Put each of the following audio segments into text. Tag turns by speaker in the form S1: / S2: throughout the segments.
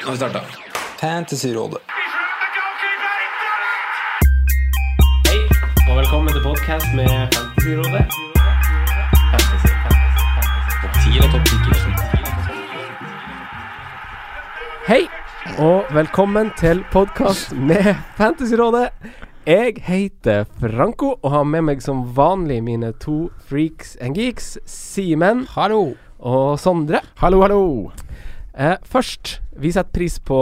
S1: Nå har vi starta.
S2: Fantasyrådet.
S3: Hei, og velkommen til podcast med Fantasyrådet. Hei, og velkommen til podcast med Fantasyrådet. Jeg heter Franco og har med meg som vanlig mine to freaks and geeks, Simen
S2: Hallo.
S3: og Sondre.
S2: Hallo, hallo.
S3: Eh, først, vi setter pris på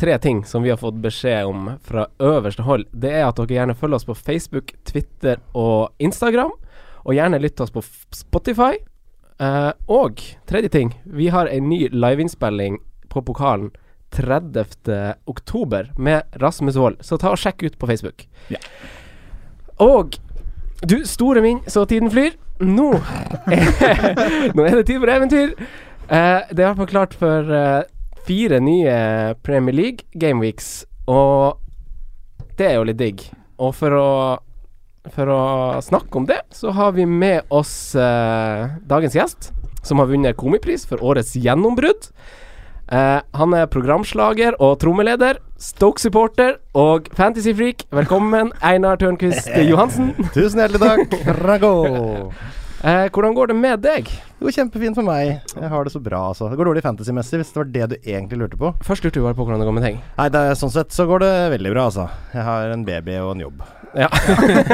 S3: tre ting som vi har fått beskjed om fra øverste hold. Det er at dere gjerne følger oss på Facebook, Twitter og Instagram. Og gjerne lytter oss på F- Spotify. Eh, og tredje ting, vi har en ny liveinnspilling på pokalen 30. oktober med Rasmus Wold, så ta og sjekk ut på Facebook.
S2: Ja.
S3: Og du store min, så tiden flyr. Nå er, nå er det tid for eventyr. Eh, det er i hvert fall klart for eh, fire nye Premier League gameweeks, og det er jo litt digg. Og for å, for å snakke om det, så har vi med oss eh, dagens gjest, som har vunnet Komipris for årets gjennombrudd. Eh, han er programslager og trommeleder, Stoke-supporter og fantasy-freak. Velkommen, Einar Tørnquist Johansen.
S4: Tusen hjertelig takk, Rago.
S3: Eh, hvordan går det med deg?
S4: Det går kjempefint for meg. Jeg har det så bra, altså. Det går dårlig fantasymessig, hvis det var det du egentlig lurte på.
S3: Først lurte vi bare på hvordan det går med deg.
S4: Nei, det er, sånn sett så går det veldig bra, altså. Jeg har en baby og en jobb.
S3: Ja.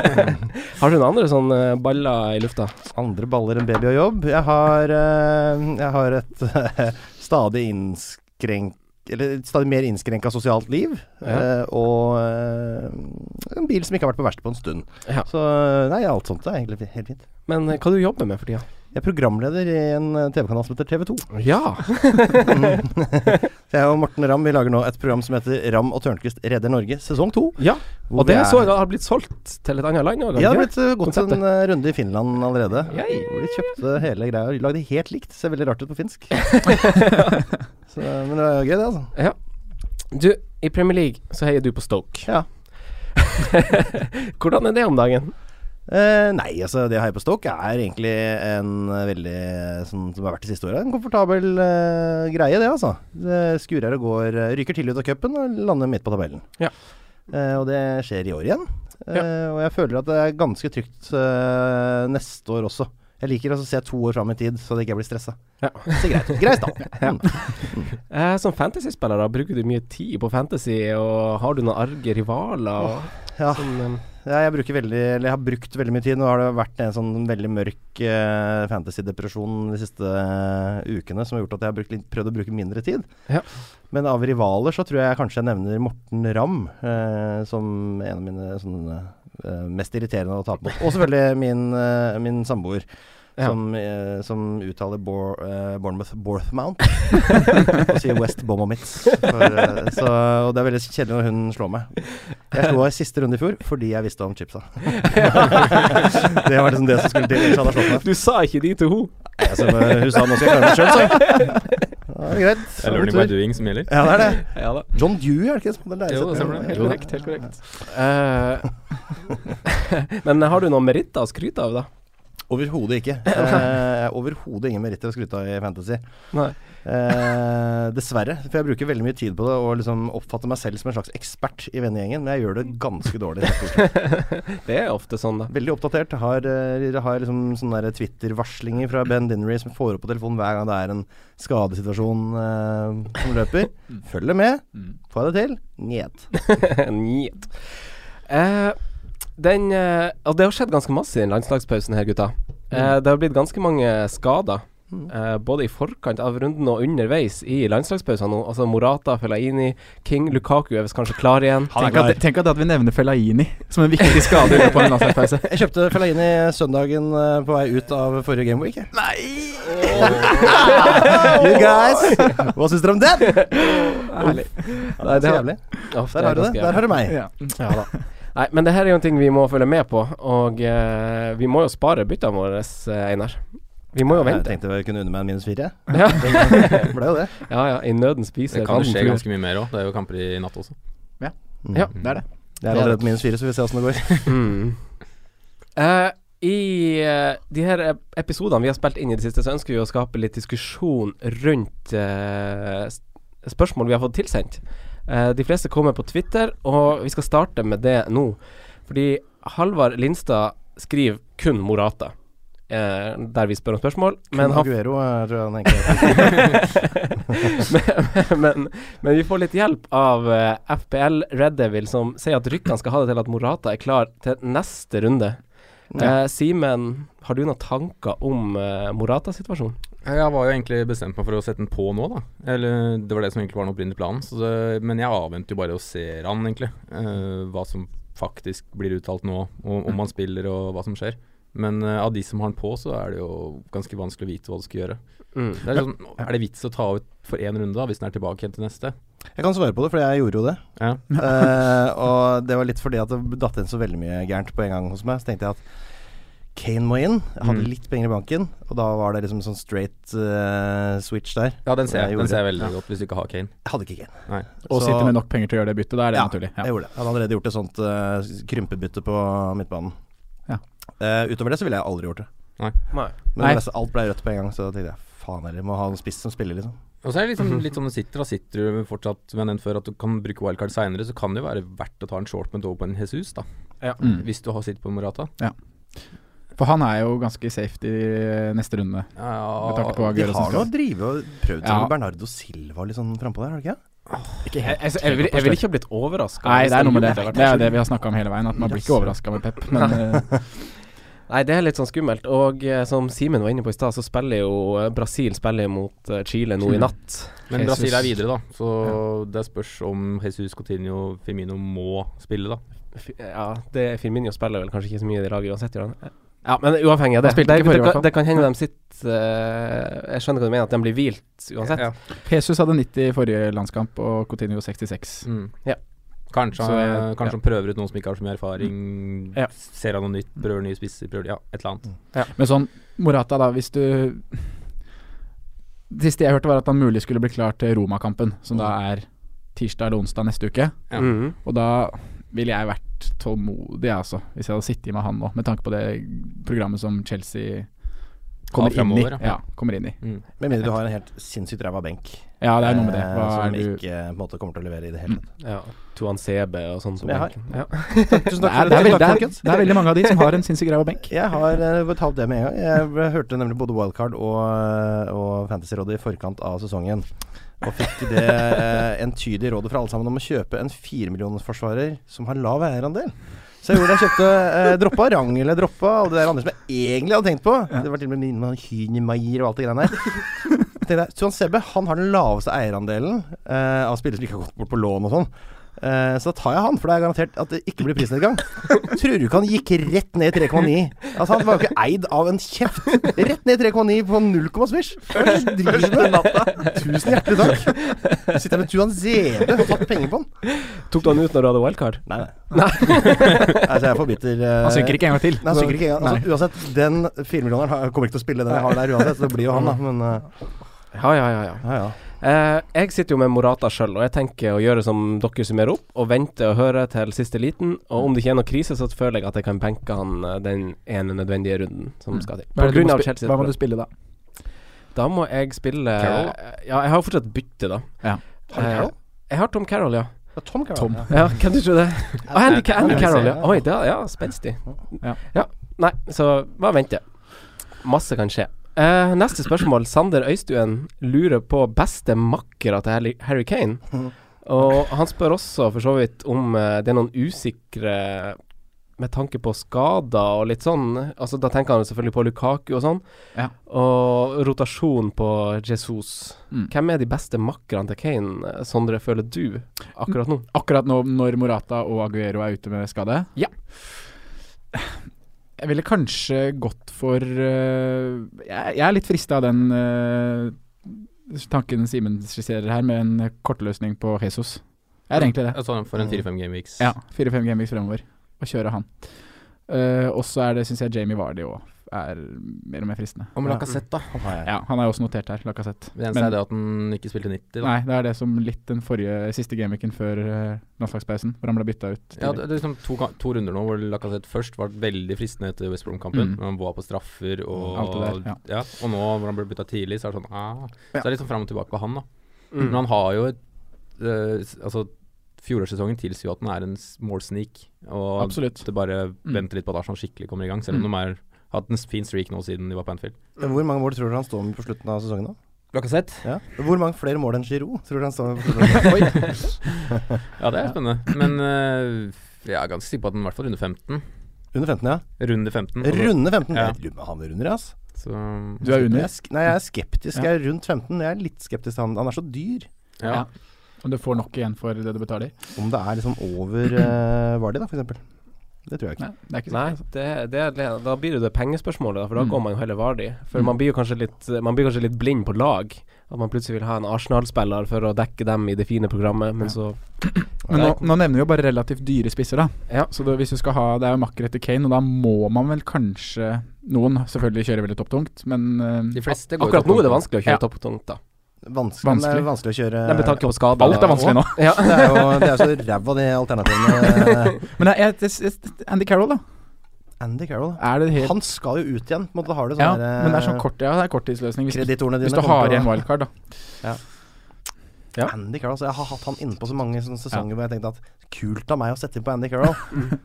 S3: har du noen andre sånne eh, baller i lufta?
S4: Andre baller enn baby og jobb. Jeg har, eh, jeg har et eh, stadig innskrenk... Eller et stadig mer innskrenka sosialt liv.
S3: Ja.
S4: eh, og eh, en bil som ikke har vært på verste på en stund.
S3: Ja.
S4: Så eh, nei, alt sånt er egentlig helt fint.
S3: Men eh, hva du jobber med for tida?
S4: Jeg er programleder i en eh, TV-kanal som heter TV2.
S3: Ja.
S4: Så jeg og Morten Ramm vi lager nå et program som heter Ramm og Tørnquist redder Norge sesong to.
S3: ja.
S4: hvor
S3: Og det
S4: vi er-
S3: så jeg har blitt solgt til et annet land òg.
S4: Ja, det har blitt eh, gått
S3: Konseptet.
S4: en eh, runde i Finland allerede.
S3: Yay.
S4: Hvor de kjøpte hele greia og lagde helt likt. Ser veldig rart ut på finsk. Så, eh, men det er gøy, det, altså.
S3: Du, i Premier League så heier du på Stoke.
S4: Ja.
S3: Hvordan er det om dagen?
S4: Eh, nei, altså det jeg heier på Stoke er egentlig en eh, veldig eh, sånn som har vært de siste åra. En komfortabel eh, greie, det altså. Det skurer og går. eh, Ryker tidlig ut av cupen og lander midt på tabellen.
S3: Ja.
S4: Eh, og det skjer i år igjen. Eh,
S3: Ja.
S4: Og jeg føler at det er ganske trygt eh, neste år også. Jeg liker altså å se to år fram i tid, så det ikke jeg blir stressa.
S3: Ja.
S4: Det ser greit ut. Greit, da. Mm.
S3: Eh, som fantasyspiller, da, bruker du mye tid på fantasy, og har du noen arge rivaler? Og,
S4: Ja.
S3: som, eh,
S4: Ja, jeg bruker veldig, eller jeg har brukt veldig mye tid. Nå har det vært en sånn veldig mørk eh, fantasy-depresjon de siste eh, ukene som har gjort at jeg har brukt litt, prøvd å bruke mindre tid.
S3: Ja.
S4: Men av rivaler så tror jeg kanskje jeg nevner Morten Ramm eh, som en av mine sånne, eh, mest irriterende å tape mot. Og selvfølgelig min, eh, min samboer.
S3: Ja.
S4: Som, eh, som uttaler Bor, eh, Bournemouth Borthmount og sier West Bomomits. For, eh, så, og det er veldig kjedelig når hun slår meg. Jeg slo henne i siste runde i fjor fordi jeg visste om chipsa. det var liksom det som skulle til.
S3: sånn
S4: Ellers hadde jeg slått meg.
S3: du sa ikke de til henne!
S4: Jeg som, eh, hun sa nå skal jeg klare meg sjøl, så. Da er det greit.
S1: Det er learning by doing som gjelder.
S4: Ja, det er det.
S3: Ja da.
S4: John Dewey, er det ikke det som hadde
S1: Jo, det stemmer det. Helt
S4: Jo,
S1: korrekt,
S3: helt korrekt. Eh, men har du noen meritter å skryte av, da?
S4: Overhodet ikke. Eh, jeg har Overhodet ingen meritter å skryte av i Fantasy.
S3: Nei.
S4: Eh, dessverre, for jeg bruker veldig mye tid på det og liksom oppfatter meg selv som en slags ekspert i vennegjengen, men jeg gjør det ganske dårlig.
S3: Det er ofte sånn, da.
S4: Veldig oppdatert. Har, eh, har liksom sånne der Twitter-varslinger fra Ben Dinnery som får opp på telefonen hver gang det er en skadesituasjon eh, som løper.
S1: Mm.
S4: Følger med. Får jeg det til? Njet.
S3: Njet. Eh, den eh, Og det har skjedd ganske masse i den landslagspausen her, gutta. Eh, det har blitt ganske mange skader. eh, både i forkant av runden og underveis i landslagspausen nå. Altså Morata, Felaini, King, Lukaku er visst kanskje klar igjen.
S5: Tenk at, tenk at vi nevner Fellaini som en viktig skade i løpet av en landslagspause.
S4: Jeg kjøpte Fellaini søndagen eh, på vei ut av forrige Gameweek. jeg. You guys! Hva syns dere om den?
S3: Herlig.
S4: Nei, det er så jævlig.
S3: Uff,
S4: Der har du det.
S3: ganske
S4: Der har du meg.
S5: Ja.
S3: Ja da. Nei, men det her er jo en ting vi må følge med på, og eh, vi må jo spare byttene våre, eh, Einar. Vi må jo
S4: Jeg
S3: vente.
S4: tenkte jeg kunne unne meg en minus fire. jeg.
S3: Ja,
S4: Det ble jo det.
S3: ja, ja i nøden
S1: Det
S3: spiser
S1: kan jo
S3: fanden
S1: skje
S3: fugl.
S1: ganske mye mer òg. Det er jo kamper i natt også.
S3: Ja.
S5: Det er det.
S4: Mm. Jeg er allerede på minus fire, så vi får se åssen det går.
S3: Mm. Eh, I eh, de her ep- episodene vi har spilt inn i det siste, så ønsker vi å skape litt diskusjon rundt eh, s- spørsmål vi har fått tilsendt. Eh, de fleste kommer på Twitter, og vi skal starte med det nå. Fordi Halvard Lindstad skriver kun Morata, eh, der vi spør om spørsmål. Men, han,
S4: Aguero eh, tror jeg han egentlig
S3: men, men, men vi får litt hjelp av eh, FPL Red Devil, som sier at rykkene skal ha det til at Morata er klar til neste runde. Eh, Simen, har du noen tanker om eh, Morata-situasjonen?
S1: Jeg var jo egentlig bestemt meg for å sette den på nå, da. Eller det var det som egentlig var den opprinnelige planen. Så det, men jeg avventer jo bare og ser han, egentlig. Eh, hva som faktisk blir uttalt nå, og om han spiller og hva som skjer. Men eh, av de som har den på, så er det jo ganske vanskelig å vite hva du skal gjøre. Det er, sånn, er det vits å ta ut for én runde, da, hvis den er tilbake igjen til neste?
S4: Jeg kan svare på det, for jeg gjorde jo det.
S1: Ja.
S4: Eh, og det var litt fordi at det datt inn så veldig mye gærent på en gang hos meg. Så tenkte jeg at Kane må inn. Jeg hadde
S1: Mm.
S4: litt penger i banken, og da var det liksom sånn straight eh, switch der.
S1: Ja, den ser
S4: Jeg
S1: jeg,
S4: gjorde
S1: den ser jeg
S4: det.
S1: veldig godt, hvis du ikke har Kane.
S4: Jeg hadde ikke Kane.
S1: Nei.
S5: Og
S4: Så-
S5: sitter med nok penger til å gjøre det byttet. Da er det
S4: Ja,
S5: naturlig.
S4: Jeg gjorde det. Jeg hadde allerede gjort et sånt eh, krympebytte på midtbanen.
S5: Ja.
S4: Eh, utover det så ville jeg aldri gjort det.
S3: Nei.
S4: Men
S5: Nei.
S4: det resten- alt ble rødt på en gang, så tenkte jeg faen heller, må ha en spiss som spiller, liksom.
S1: Og så er det liksom
S5: Mhm.
S1: litt sånn du sitter, da sitter du fortsatt med den før at du kan bruke wildcard seinere, så kan det jo være verdt å ta en shortment over på en Jesus, da.
S5: Mm.
S1: Hvis du har sittet på Morata.
S5: For han er jo ganske safe i neste runde.
S1: Ja,
S5: Med tanke på
S4: De
S5: Aguero som
S4: har nå
S5: skal
S4: drivet og prøvd seg
S5: Ja.
S4: med Bernardo Silva litt sånn frampå der, har de ikke? det?
S3: Jeg, jeg, jeg, vil, jeg vil ikke ha blitt overraska.
S5: Nei, det er noe med det. Det er jo det vi har snakka om hele veien, at man blir ikke overraska med Pep. Men eh,
S3: Nei, det er litt sånn skummelt. Og eh, som Simen var inne på i stad, så spiller jo eh, Brasil spiller mot eh, Chile nå i natt.
S1: Men
S5: Jesus.
S1: Brasil er videre, da. Så det spørs om Jesus Coutinho Firmino må spille, da.
S3: Fi- eh, Ja, det Firmino spiller vel kanskje ikke så mye i det laget uansett, gjør han? Ja, men uavhengig av det.
S5: Han spilte
S3: Det,
S5: ikke forrige, i
S3: det,
S5: hvert
S3: kan,
S5: fall.
S3: det kan hende de sitter eh, Jeg skjønner hva du mener, at de blir hvilt uansett.
S1: Ja.
S5: Jesus hadde 90 i forrige landskamp og Coutinho 66.
S1: Mm.
S3: Ja.
S1: Kanskje,
S5: Så eh, Mm. jeg-
S1: kanskje han prøver ut noen som ikke har så mye erfaring.
S3: Ja.
S1: Ser han noe nytt, prøver nye spisser, prøver ja, et eller annet.
S5: Men sånn, Morata da, hvis du Det siste jeg hørte var at han mulig skulle bli klar til Roma-kampen, som da
S4: Mm.
S5: er tirsdag eller onsdag neste uke.
S1: Ja.
S3: Mhm.
S5: Og da ville jeg vært tålmodig, altså, hvis jeg hadde sittet med han nå, med tanke på det programmet som Chelsea
S1: Ja,
S5: kommer inn i.
S1: fremover, ja.
S5: Ja, kommer inn i.
S1: Mm.
S4: Med mindre du har en helt sinnssykt ræva benk.
S5: Ja, det er noe med det.
S4: eh,
S5: Hva
S4: som
S5: er du Mm.
S4: ikke på en måte kommer til å levere i det hele tatt.
S3: Ja. Tuan CB og sånn som
S4: jeg har.
S3: benken. Ja.
S4: Tusen
S5: det
S4: takk
S5: er,
S4: for
S5: det, er
S4: det.
S5: veldig, det,
S4: Takk,
S5: er,
S4: folkens.
S5: det er veldig mange av de som har en sinnssykt ræva benk.
S4: Jeg har eh, betalt det med en gang. Jeg ble- hørte nemlig både Wildcard og, eh, og Fantasyrådet i forkant av sesongen. Og fikk det eh, entydige rådet fra alle sammen om å kjøpe en firemillionersforsvarer som har lav eierandel. Så jeg gjorde det, jeg kjøpte eh, droppa Rangel, jeg droppa alle de der andre som jeg egentlig hadde tenkt på. Det var til og med innom Hynemeier og alt det greiene der. Tenkte jeg, Tuan Sebe han har den laveste eierandelen eh, av spillere som ikke har gått bort på lån og sånn. Eh, så da tar jeg han, for det er garantert at det ikke blir prisnedgang. Tror du ikke han gikk rett ned i 3,9? Altså Han var jo ikke eid av en kjeft. Rett ned i 3,9 på 0, smish. Første natta. Tusen hjertelig takk. Du sitter jeg med Tuan Zebe og har tatt penger på han.
S3: Tok du han ut når du hadde wildcard?
S4: Nei, nei. altså, jeg er for bitter. eh,
S5: Han synker ikke en gang til.
S4: Nei, han synker ikke engang. Altså, uansett, den firemillioneren har- kommer ikke til å spille den jeg har der uansett. Så det blir jo han, da. Men eh,
S3: Ja, ja, ja. ja.
S4: ja, ja.
S3: Eh, jeg sitter jo med Morata sjøl, og jeg tenker å gjøre som dere summerer opp, og vente og høre til siste liten. Og om det ikke er noe krise, så føler jeg at jeg kan benke han eh, den ene nødvendige runden som
S5: Mm.
S3: skal til.
S5: Hva
S3: På
S5: er det du
S3: grunn
S5: må
S3: av
S5: spi-
S3: Chelsea.
S5: Hva må du spille da?
S3: Da må jeg spille
S1: Carroll,
S3: Ja, jeg har jo fortsatt bytte, da.
S5: Ja.
S4: Har du
S3: Eh,
S4: Carroll?
S3: Jeg har Tom Carroll, ja.
S4: Ja, Tom Carroll.
S5: Tom.
S4: Ja.
S3: ja kan du tro det? Å, Andy, Ca- Andy
S4: Ja,
S3: Carroll, ja.
S4: ja.
S3: Oi, det er, ja, spenstig.
S5: Ja.
S3: Ja. Nei, så bare vente. Masse kan skje. Eh, neste spørsmål. Sander Øystuen lurer på beste makkere til Harry- Harry Kane. Og han spør også for så vidt om eh, det er noen usikre med tanke på skader og litt sånn. Altså Da tenker han selvfølgelig på Lukaku og sånn.
S5: Ja.
S3: Og rotasjon på Jesus.
S5: Mm.
S3: Hvem er de beste makkerne til Kane, eh, Sondre, føler du akkurat nå?
S5: Akkurat nå når Morata og Aguero er ute med skade?
S3: Ja.
S5: Jeg ville kanskje gått for øh, Jeg, jeg er litt frista av den øh, tanken Simen skisserer her, med en kortløsning på Jesus. Jeg er egentlig det.
S1: Altså for en fire-fem gameweeks.
S5: Mm. Ja, fire-fem gameweeks fremover. Og kjøre han. Eh, og så er det, syns jeg, Jamie Vardy òg er mer og mer fristende.
S1: Og med Lacassette, da.
S4: Han har jeg.
S5: Ja, han er også notert her, Lacassette.
S1: Det eneste
S5: Men-
S1: er det at han ikke spilte 90, da.
S5: Nei, det er det som litt den forrige siste gameweeken før eh, landslagspausen, hvor han ble bytta ut.
S1: Ja,
S5: tidlig.
S1: det, det er liksom to, ka- to runder nå hvor Lacassette først var veldig fristende etter West Brom-kampen.
S5: Mm.
S1: Når han var på straffer og
S5: Alt det der, ja.
S1: liksom Og nå hvor han ble bytta tidlig, så er det sånn ah. Så det er litt sånn fram og tilbake på han, da.
S3: Mm.
S1: Men han har jo et eh, s- Altså, fjorårssesongen tilsier jo at han er en s- målsnik. Og
S5: Absolutt.
S1: det bare venter litt på at Arsenal skikkelig kommer i gang, selv om
S5: Mm.
S1: de er, har hatt en s- fin streak nå siden de var på Anfield.
S4: Men hvor mange mål tror dere han står med på slutten av sesongen, da?
S1: Lacassette?
S4: Ja. Hvor mange flere mål enn Giroud tror dere han står med på slutten? av sesongen?
S1: Ja, det er spennende. Men eh, jeg er ganske sikker på at den i hvert fall runder 15.
S4: Under 15, ja.
S1: Runde 15. og da-
S4: Runde 15.
S1: Ja.
S4: Nei, Han er under, ass.
S1: Så,
S5: Du er
S4: Jeg
S5: under,
S4: er sk nei, jeg er skeptisk. Jeg er rundt 15. Jeg er litt skeptisk til han. Han er så dyr.
S1: ja.
S5: Ja. og du får nok igjen for det du betaler.
S4: Om det er liksom over uh, Vardi, da, for eksempel. Det tror jeg ikke.
S5: Nei, det er ikke
S3: Nei,
S5: sikkert.
S3: det, det, er det- da blir det det pengespørsmålet, da, for da
S5: Mm.
S3: går man jo heller Vardi. For
S5: Mm.
S3: man blir jo kanskje litt Man blir kanskje litt blind på lag. At man plutselig vil ha en Arsenal-spiller for å dekke dem i det fine programmet, men
S5: Ja.
S3: så
S5: Men nå,
S3: Nei.
S5: nå nevner vi jo bare relativt dyre spisser, da.
S3: Ja.
S5: Så da, hvis du skal ha Det er jo makker etter Kane, og da må man vel kanskje Noen selvfølgelig kjører veldig topptungt, men eh,
S1: De fleste går jo
S3: Akkurat nå er det
S1: topptungt.
S3: vanskelig å kjøre
S5: Ja.
S3: topptungt, da.
S4: Vanskelig,
S5: Vanskelig.
S4: Det er vanskelig å kjøre
S3: Nei, Med tanke på skader.
S5: alt er vanskelig nå.
S3: Ja.
S4: Det er jo det er så ræva, de alternativene.
S5: Men jeg, jeg, jeg, Andy Carroll, da.
S4: Andy Carroll.
S5: Er det helt
S4: Han skal jo ut igjen. på en måte har du
S5: Ja,
S4: sånn der,
S5: men det er sånn kort, ja, det er korttidsløsning. Hvis,
S4: Kreditorene dine
S5: hvis du
S4: kommer
S5: har
S4: til å-
S5: igjen wildcard, da.
S3: Ja.
S4: Andy Carroll, så Jeg har hatt han inne på så mange sånne sesonger hvor jeg tenkte at kult av meg å sette inn på Andy Carroll.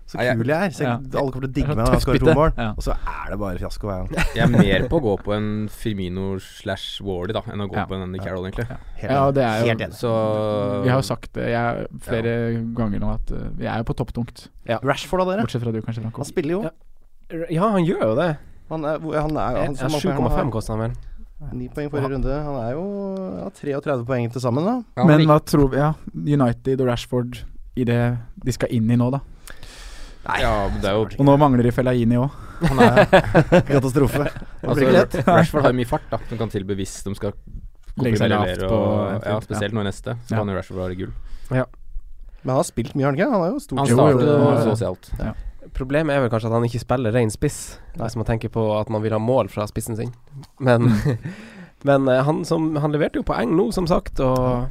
S4: Så
S1: Nei, jeg-
S4: kul jeg er. Så jeg,
S5: Ja.
S4: Alle kommer til å
S5: Det er
S4: digge
S5: sånn
S4: meg når han skårer to
S5: tøffbytte.
S4: mål.
S5: Ja.
S4: Og så er det bare fiasko hver gang.
S1: Jeg er mer på å gå på en Firmino slash Wardy da, enn å gå
S5: Ja.
S1: på en Andy
S4: Ja.
S1: Carroll, egentlig.
S4: Helt
S5: Ja,
S4: enig.
S5: det er jo
S4: Helt enig.
S1: Så
S5: Vi har jo sagt det jeg, flere ganger nå, at eh, vi er jo på topptungt.
S4: Rashford, da, dere.
S5: Bortsett fra du, kanskje, Franco.
S4: Han spiller jo.
S3: Ja. Ja, han gjør jo det.
S4: Han er, hvor- han er,
S3: Ja,
S4: han, som har-
S3: 7,5 koster han vel.
S4: har ni poeng forrige runde. Han er jo ja, 33 poeng til sammen, da.
S1: ja,
S5: Men
S1: men
S5: hva tror vi Ja, United og Rashford i det de skal inn i nå, da.
S1: ja, men det er jo
S5: Og nå mangler de Fellaini òg.
S1: han er,
S4: Katastrofe. Det blir ikke lett.
S1: altså, Rashford har jo mye fart da som kan tilby hvis de skal
S5: Legge seg
S1: komprimere
S5: lavt
S1: og-
S5: på-
S1: Ja, spesielt nå i neste, så
S5: Ja.
S1: kan jo Rashford være gull.
S4: Men han har spilt mye, har han ikke? Han er jo stort
S1: Han
S5: Jo,
S4: sett
S5: jo,
S1: startet
S5: jo,
S1: og så
S5: jo.
S1: seg alt.
S3: Problemet er vel kanskje at han ikke spiller ren spiss, hvis man tenker på at man vil ha mål fra spissen sin. Men, men eh, han, som, han leverte jo poeng nå, som sagt, og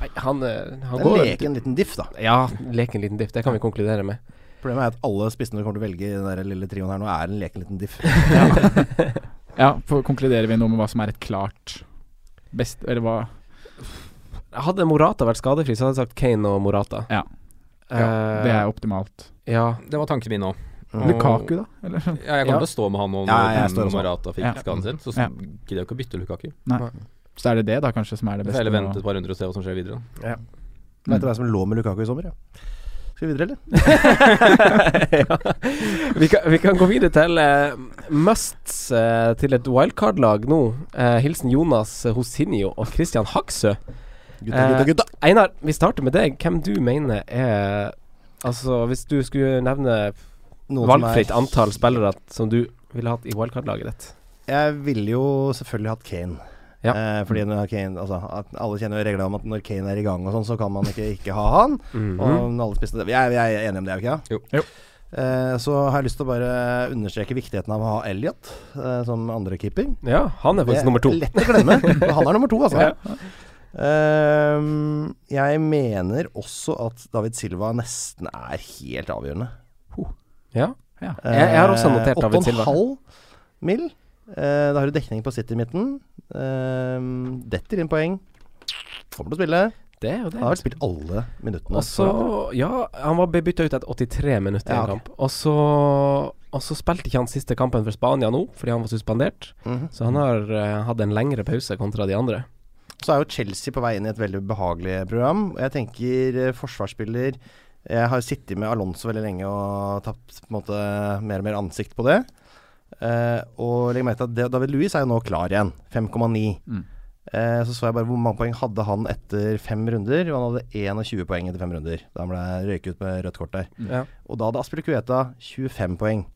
S3: Nei, han, eh, han
S4: en
S3: går
S4: leke en liten diff, da.
S3: Ja, leke en liten diff. Det kan vi konkludere med.
S4: Problemet er at alle spissene du kommer til å velge i den der lille trioen her nå, er en leken liten diff.
S5: Ja, for konkluderer vi nå med hva som er et klart best Eller hva
S3: Hadde Morata vært skadefri, så hadde jeg sagt Kane og Morata.
S5: Ja.
S3: Eh,
S5: Det er optimalt.
S3: ja.
S1: Det var tanken min nå.
S4: Mm.
S5: Lukaku, da? Eller?
S1: Ja, jeg kommer til å stå med han nå når
S4: Ja, jeg står også.
S1: Marata fikk
S5: Ja.
S1: skaden sin, så s-
S5: Ja.
S1: gidder jeg ikke å bytte Lukaku.
S5: Så er det det, da, kanskje, som er det
S1: Jeg
S5: beste.
S1: får heller vente
S5: nå.
S1: et par runder og se hva som skjer videre.
S4: Vet du hvem som lå med Lukaku i sommer? Ja. Skal vi videre, eller?
S3: ja. Vi, kan, vi kan gå videre til eh, musts eh, til et wildcard-lag nå. Eh, hilsen Jonas Hosinio og Christian Hagsø.
S4: Gutta,
S3: Eh,
S4: gutta, gutta!
S3: Einar, vi starter med deg. Hvem du mener er Altså, hvis du skulle nevne
S4: Noen som er-
S3: valgfritt antall spillere som du ville hatt i wildcard-laget ditt.
S4: Jeg ville jo selvfølgelig hatt Kane.
S3: Ja.
S4: Eh, fordi når Kane, altså, at alle kjenner jo reglene om at når Kane er i gang, og sånn, så kan man ikke ikke ha han.
S3: Mhm.
S4: Og når alle spiste jeg, jeg er enig om det, er vi ikke det?
S1: Jo.
S5: Mm. Jo.
S4: Eh, så har jeg lyst til å bare understreke viktigheten av å ha Elliot eh, som andre keeper.
S3: Ja, han er
S4: Det
S3: faktisk nummer to.
S4: Lett å glemme. Men han er nummer to, altså.
S3: Ja.
S4: Ehm, jeg mener også at David Silva nesten er helt avgjørende.
S3: Ja.
S5: Ja.
S4: Eh,
S3: Jeg- jeg har også notert David Silva.
S4: 8,5 mil. Eh, da har du dekning på City i midten. Ehm, detter inn poeng. Kommer til å spille.
S3: Det er jo det.
S4: Han har vel spilt alle minuttene.
S3: Og så Ja, han var bytta ut etter 83 minutter i
S4: Ja,
S3: en
S4: ok.
S3: kamp. Og så Og så spilte ikke han siste kampen for Spania nå, fordi han var suspendert.
S4: Mhm.
S3: Så han har eh, hatt en lengre pause kontra de andre.
S4: Så er jo Chelsea på vei inn i et veldig behagelig program. Og jeg tenker eh, forsvarsspiller Jeg har sittet med Alonso veldig lenge og tapt på en måte mer og mer ansikt på det. Eh, og legg merke til at det- David Louis er jo nå klar igjen. 5,9.
S5: Mm.
S4: Eh, så så jeg bare hvor mange poeng hadde han etter fem runder. Og han hadde 21 poeng etter fem runder da han ble røyket ut med rødt kort der.
S3: Ja.
S4: Og da hadde Aspel Kueta 25 poeng.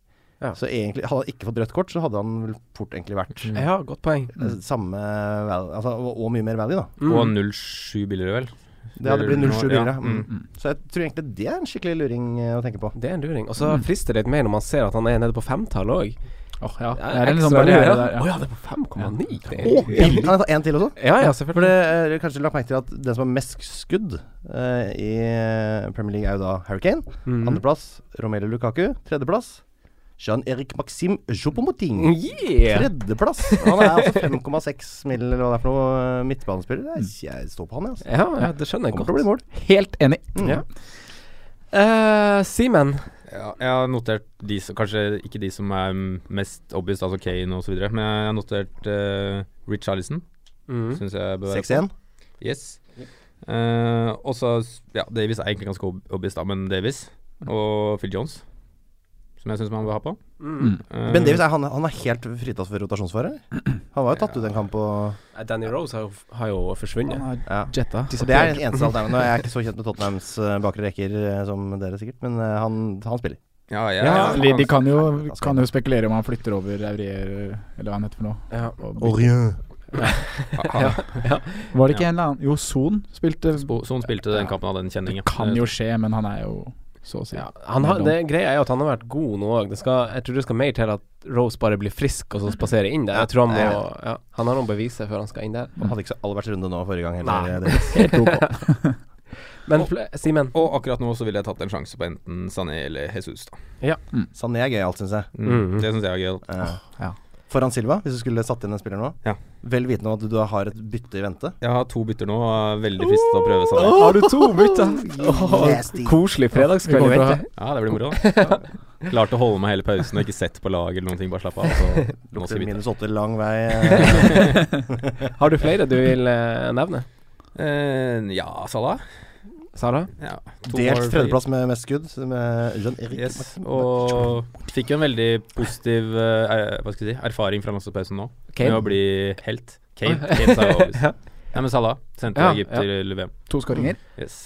S3: Ja.
S4: Så egentlig, hadde han ikke fått rødt kort, så hadde han vel fort egentlig vært
S1: Mm.
S3: Ja, godt poeng.
S4: eh, samme val- altså, og, og mye mer value, da.
S3: Mm.
S1: Og 0,7 billigere, vel.
S4: Det hadde blitt 07 biler, ja.
S1: Ja,
S4: Mm.
S1: mm.
S4: Så jeg tror egentlig det er en skikkelig luring eh, å tenke på.
S3: Det er en luring. Og så frister det litt mer når man ser at han er nede på femtall òg.
S5: Åh, ja. Det er en sånn barriere der.
S3: Å
S5: Ja.
S3: ja, det er på 5,9. Det er-
S4: Å, en- kan jeg ta en til også?
S3: Ja, ja,
S4: For
S3: selvfølgelig.
S4: det eh, dere kanskje lagt merke til at den som har mest skudd eh, i Premier League, er jo da Harry Kane.
S3: Mhm.
S4: Andreplass Romelu Lukaku. Tredjeplass Jean-Erik Maxim Jopomoting.
S3: Yeah!
S4: Tredjeplass! Han er altså 5,6 mill. eller hva det er for noe, eh, midtbanespiller. Det er- Jeg står på han, jeg. Altså.
S3: Ja, ja, det skjønner jeg
S4: Kommer til å bli
S3: godt.
S4: mål.
S5: Helt enig.
S4: Mm.
S3: Ja. Eh, Simen.
S1: Ja, jeg har notert de som Kanskje ikke de som er mm, mest obvious, altså Kane osv., men jeg har notert uh, Rich Charlison.
S3: Mm.
S1: Syns jeg bør være
S4: 6-1.
S1: Yes. Eh, og så Ja, Davies er egentlig ganske ob- obvious, da, men Davies og Phil Jones, som jeg syns man bør ha på.
S5: Mm.
S1: Eh,
S4: Ben Davies er, han, han er helt fritatt for rotasjonsfare. Han var jo tatt
S1: Ja.
S4: ut en kamp og
S3: Eh, Danny Rose har, jo- har jo forsvunnet.
S5: Han har
S4: ja.
S5: jetta.
S4: Og Det er det eneste alternativet. Nå er Jeg er ikke så kjent med Tottenhams eh, bakre rekker eh, som dere, sikkert, men eh, han, han spiller.
S1: Eh, Ja, jeg,
S5: Ja,
S1: jeg-
S5: de- de kan jo, kan jo spekulere om han flytter over Aurier eller hva han heter for noe.
S3: Ja.
S5: Og-
S4: Orien.
S1: ja.
S5: Var det ikke en eller annen Jo, Son spilte
S1: Spo- Son spilte den kampen av den kjenningen.
S5: Det kan jo skje, men han er jo så å si
S3: Ja, han har, det Greia er jo at han har vært god nå òg. Jeg tror det skal mer til at Rose bare blir frisk og så spaserer inn der. Jeg tror Han må ja, Han har noen beviser før han skal inn der.
S4: Han hadde ikke så aller verste runde nå forrige gang heller.
S3: Nei.
S4: eh, Davies.
S5: helt ok.
S3: Men fl- Simen.
S1: Og akkurat nå så ville jeg tatt en sjanse på enten Sané eller Jesus. da
S4: Sané Sånn, er gøyalt, syns jeg.
S1: mm.
S3: Mhm.
S1: Det syns jeg er gøy.
S4: Eh,
S5: ja.
S4: Foran Silva, hvis du skulle satt inn en spiller nå.
S1: Ja.
S4: Vel vitende om at du da har et bytte i vente.
S1: Jeg har to bytter nå, og er veldig fristet til å prøve Sané.
S3: Har du to bytter?
S4: Nasty.
S3: koselig
S5: Vi
S3: fredagskveld
S5: går
S3: i
S5: fra-
S3: vente.
S1: Ja, det blir moro, da. Klarte å holde meg hele pausen og ikke sett på lag eller noen ting. Bare slappe av. Så nå
S4: Lukter
S1: skal vi bytte.
S4: minus åtte lang vei. eh.
S3: Har du flere du vil eh, nevne?
S1: Eh, ja, Salah.
S3: Sara?
S1: Ja, to
S4: Delt
S1: mål-
S4: tredjeplass med mest skudd, eh, med Jean-Erik
S1: Yes,
S4: Maxim.
S1: og fikk jo en veldig positiv eh, hva skal jeg si, erfaring fra landslagspausen nå, med å
S3: Kane?
S1: bli helt. Kane, Kane sa jo obvious.
S3: Ja.
S1: Nei, men Salah sendte
S3: Ja,
S1: Egypt
S3: ja.
S1: til VM.
S5: To skåringer.
S1: Yes.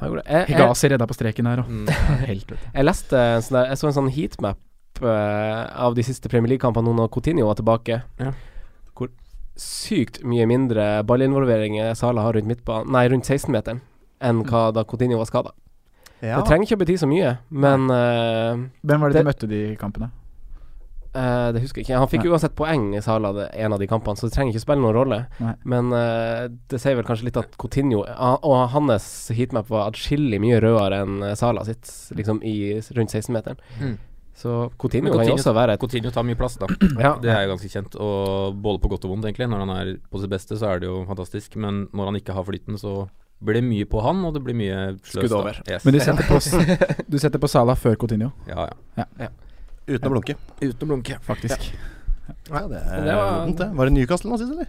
S3: Han gjorde det. Eh, Jeg, jeg,
S5: Hegasi redda på streken her òg.
S1: Mm.
S5: Helt vet du.
S3: jeg leste en sånn der, Jeg så en sånn heatmap eh, av de siste Premier League-kampene nå når Coutinho var tilbake.
S1: Ja.
S3: Hvor sykt mye mindre ballinvolveringer Sala har rundt midtbanen Nei, rundt 16-meteren enn hva da Coutinho var skada.
S4: Ja.
S3: Det trenger ikke å bety så mye, men eh,
S5: Hvem var det de
S3: Det-
S5: møtte de kampene?
S3: eh, det husker jeg ikke. Han fikk
S5: Nei.
S3: uansett poeng i Sala det- en av de kampene, så det trenger ikke spille noen rolle.
S5: Nei.
S3: Men eh, det sier vel kanskje litt at Coutinho ah, og hans heatmap var atskillig mye rødere enn eh, Sala sitt, liksom i s- rundt 16-meteren.
S1: Mm.
S3: Så Coutinho,
S1: Men
S3: kan jo
S1: Coutinho-
S3: også være et
S1: Coutinho tar mye plass, da.
S3: Ja.
S1: Det er jo ganske kjent. Og både på godt og vondt, egentlig. Når han er på sitt beste, så er det jo fantastisk. Men når han ikke har flyten, så blir det mye på han, og det blir mye sløst.
S3: Skudd
S1: da.
S3: over.
S1: Yes.
S5: Men du setter på, s- du setter på Salah før Coutinho,
S1: Ja, ja.
S4: Uten å blunke.
S1: Uten å blunke.
S5: faktisk.
S4: Ja, det er
S3: Det var-
S4: vondt, det. Var det Newcastle nå sist, eller?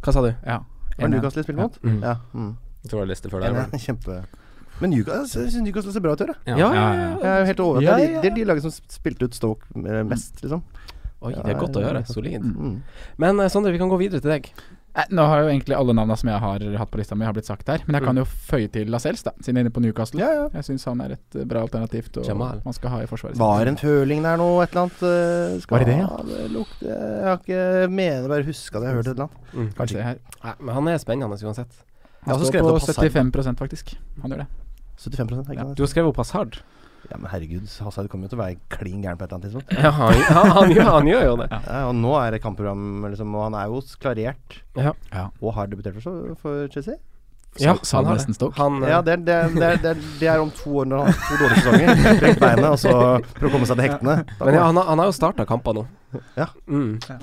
S3: Hva sa du?
S5: Ja.
S4: Var det Newcastle de spilte mot?
S3: Mm.
S4: Ja. Mm.
S1: Jeg tror det var Leicester før der. var det?
S4: Ja, Kjempe Men Newcastle, jeg syns Newcastle ser bra ut i år,
S3: Ja,
S4: jeg.
S3: ja, ja.
S4: Jeg er jo helt overrasket.
S5: Ja,
S4: Det er
S5: ja.
S4: de- Det er de lagene som spilte ut Stoke eh, mest, liksom.
S3: Oi, det er godt å høre. Solid.
S4: Mm.
S3: Men eh, Sondre, vi kan gå videre til deg.
S5: Eh, Nå har jo egentlig alle navnene som jeg har hatt på lista mi, har blitt sagt her. Men jeg kan jo føye til Lascelles, da, siden jeg er inne på Newcastle.
S4: Ja, ja.
S5: Jeg syns han er et eh, bra alternativt og
S3: Jamal.
S5: man skal ha i forsvaret. sitt.
S4: Var en føling der nå, et eller annet? eh, Skal
S5: Var det det, ja?
S4: det lukte Jeg har ikke mener bare huska det jeg hørte et eller annet.
S5: Kanskje det her.
S3: Mm. Nei, men han er spennende uansett.
S4: Jeg har
S5: Han
S4: også
S5: står
S4: skrevet
S5: på
S4: opp Hazard.
S5: 75 faktisk. Han gjør det.
S4: 75 er ikke
S5: Ja.
S4: det?
S3: Du har skrevet opp Hazard.
S4: Ja, men herregud, Hazard kommer jo til å være klin gæren på et eller annet tidspunkt.
S3: Ja, han, han, han, gjør, han gjør jo det.
S4: Ja, og nå er det kampprogram, liksom, og han er jo klarert.
S3: Ja.
S5: Ja.
S4: Og har debutert for, for Chelsea.
S3: Ja,
S5: Sa-
S3: han har
S5: Salvesen Stoke.
S3: Han, eh,
S4: Ja, det er, det, er, det, er, det, er, det er om to år, når han har hatt to dårlige sesonger. Brekt beinet, og så for å komme seg til hektene. Da
S3: men ja, han, har- han har jo starta kamper nå.
S4: Ja.
S3: Mm.
S5: Ja.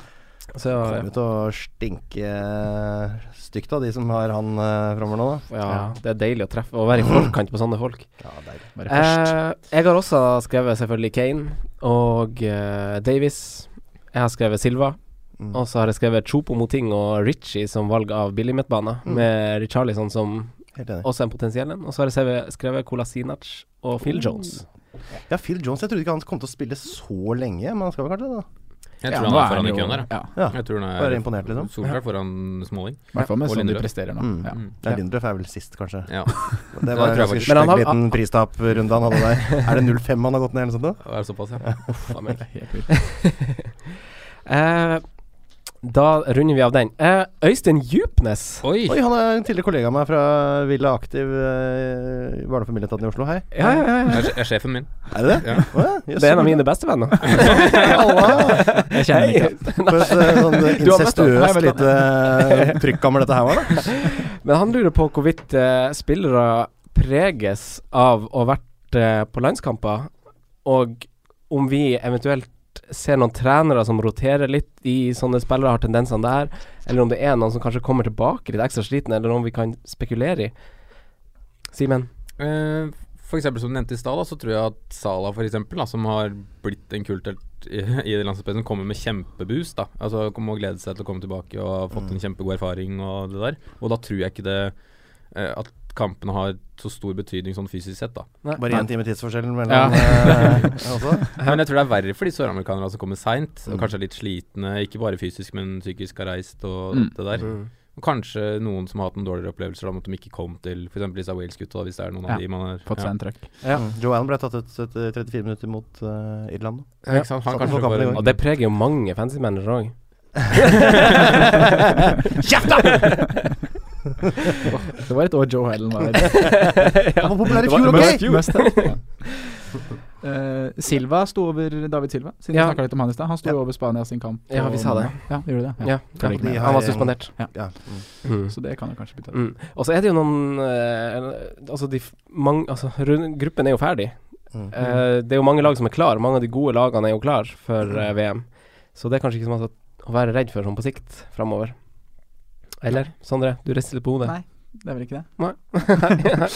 S3: Så eh,
S4: kommer vi til å stinke eh, stygt av de som har han uh, framover nå, da.
S3: ja, det er deilig å treffe og være i forkant på sånne folk.
S4: Ja, deilig.
S5: Bare først.
S3: Eh, jeg har også skrevet selvfølgelig Kane og eh, Davies. Jeg har skrevet Silva.
S4: Mm.
S3: Og så har jeg skrevet Chopo Moting og Richie som valg av billigmidtbane,
S4: Mm.
S3: med Richarlison som
S4: Helt enig.
S3: også en potensiell en. Og så har jeg skrevet- skrevet Kolasinac og Phil Jones.
S4: Ja, Phil Jones, jeg trodde ikke han kom til å spille så lenge, men han skal vel kanskje det, da.
S1: Jeg
S5: Ja,
S1: tror
S5: nå
S1: han
S5: er
S1: er foran i
S5: jo-
S1: køen der. ja.
S5: Ja,
S4: Ja.
S1: Jeg tror han
S4: Bare
S1: er
S4: imponert, liksom.
S1: solklart foran Smalling.
S5: i hvert fall med
S1: Og
S5: sånn de
S1: Lindeløf.
S5: presterer nå.
S4: Mm.
S5: Ja.
S4: Nei, Lindløf er vel sist, kanskje.
S1: Ja.
S4: Det
S1: tror
S4: var
S1: jeg
S4: en ganske
S1: faktisk.
S3: Men han
S4: stygg
S3: har-
S4: liten pristaprunde han hadde der. Er det 05 han har gått ned, eller noe sånt?
S1: Det er såpass, ja.
S3: Faen meg.
S5: Det er helt vilt.
S3: Eh, da runder vi av den. Eh, Øystein Djupnes.
S1: Oi!
S4: da? Oi, han er en tidligere kollega av meg fra Villa Aktiv uh, barnefamilietaten i Oslo. Hei.
S3: Ja, ja, ja,
S1: Det
S3: ja.
S1: er, er sjefen min.
S4: Er det det?
S1: Ja.
S4: Å ja, jøss.
S3: Det er en av mine bestevenner.
S4: Halla!
S5: Jeg kjenner ikke
S4: For et eh,
S3: Du har møtt han.
S4: sånn
S3: Nei,
S4: incestuøst
S3: men-
S4: lite eh, trykkammer dette her var, da.
S3: Men han lurer på hvorvidt eh, spillere preges av å ha vært eh, på landskamper, og om vi eventuelt ser noen trenere som roterer litt i sånne spillere, har tendensene der, eller om det er noen som kanskje kommer tilbake litt ekstra sliten, eller om vi kan spekulere i. Simen?
S1: Eh, For eksempel som du nevnte i stad, da, så tror jeg at Salah for eksempel, da, som har blitt en kulthelt i, i det landslagspressen, kommer med kjempeboost. da Altså kommer og gleder seg til å komme tilbake og har fått en kjempegod erfaring og det der. Og da tror jeg ikke det eh, at kampene har så stor betydning sånn fysisk sett, da.
S4: Bare én time tidsforskjellen mellom
S5: Ja.
S4: eh, også.
S1: Men jeg tror det er verre for de søramerikanerne som kommer seint, og kanskje er litt slitne. Ikke bare fysisk, men psykisk har reist og
S5: Mm.
S1: det der. Og kanskje noen som har hatt noen dårligere opplevelser da, om at de ikke kom til f.eks. disse Wales-gutta, da, hvis det er noen
S5: Ja.
S1: av de man har
S5: Fått seg en trøkk.
S3: Ja.
S4: Mm. Joe Allen ble tatt ut etter 34 minutter mot eh, Irland.
S1: Ja. Ikke sant? Han
S4: Satt på
S1: kanskje
S4: kampen
S1: får
S4: i går.
S1: en
S3: Og det preger jo mange fancy-managere òg.
S5: Kjeft, da! det var et år Joe Helen var
S4: Han var populær i
S5: Det var-
S4: fjor,
S5: det var i
S4: ok!
S5: fjor. Mest, ja. Eh, Silva sto over David Silva, siden
S3: Ja.
S5: vi snakket litt om han i stad. Han sto over Spania sin kamp.
S3: Ja,
S5: på
S3: vi sa det.
S5: mandag. Ja, gjorde det.
S3: Ja,
S5: Følger ikke med.
S4: de har-
S3: han var suspendert.
S4: Ja. Mm.
S3: Mm.
S5: Så det kan jo kanskje bli tatt.
S3: Mm. Og så er det jo noen eh, Altså, de f- mange, altså rund- gruppen er jo ferdig.
S4: Mm.
S3: Eh, det er jo mange lag som er klar Mange av de gode lagene er jo klar for
S4: Mm.
S3: eh, VM. Så det er kanskje ikke så mye å være redd for sånn på sikt framover. Eller? Sondre, du rister litt på hodet.
S5: Nei, det er vel ikke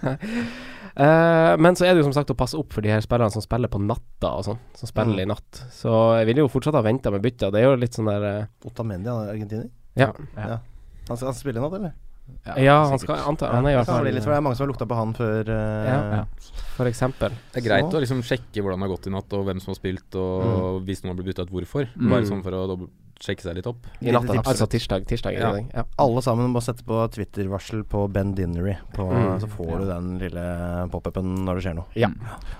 S5: det?
S3: Eh, men så er det jo som sagt å passe opp for de her spillerne som spiller på natta og sånn. Som spiller
S4: Mm.
S3: i natt. Så jeg ville jo fortsatt ha venta med bytta. Det er jo litt sånn der eh,
S4: Otamendi, han er argentiner.
S3: Ja.
S4: Han skal, han skal spille i natt, eller?
S3: Ja, han skal
S5: sikkert.
S3: anta Han er i
S4: Det
S3: hvert
S4: kan bli litt, for
S3: fall
S4: det er mange som har lukta på han før eh,
S3: Ja.
S5: Ja.
S3: For eksempel.
S1: Det er greit
S4: Så-
S1: å liksom sjekke hvordan det har gått i natt, og hvem som har spilt, og hvis noen har blitt bytta ut, hvorfor.
S5: Mm.
S1: Bare sånn for å dobbel- sjekke seg litt opp.
S3: I natta,
S4: Lite tips.
S3: altså tirsdag. Tirsdag er
S1: Ja.
S3: det. Ja.
S4: Alle sammen må sette på Twitter-varsel på Ben Dinnery, på,
S3: Mm.
S4: så får du den lille pop-upen når det skjer noe.
S5: Mm.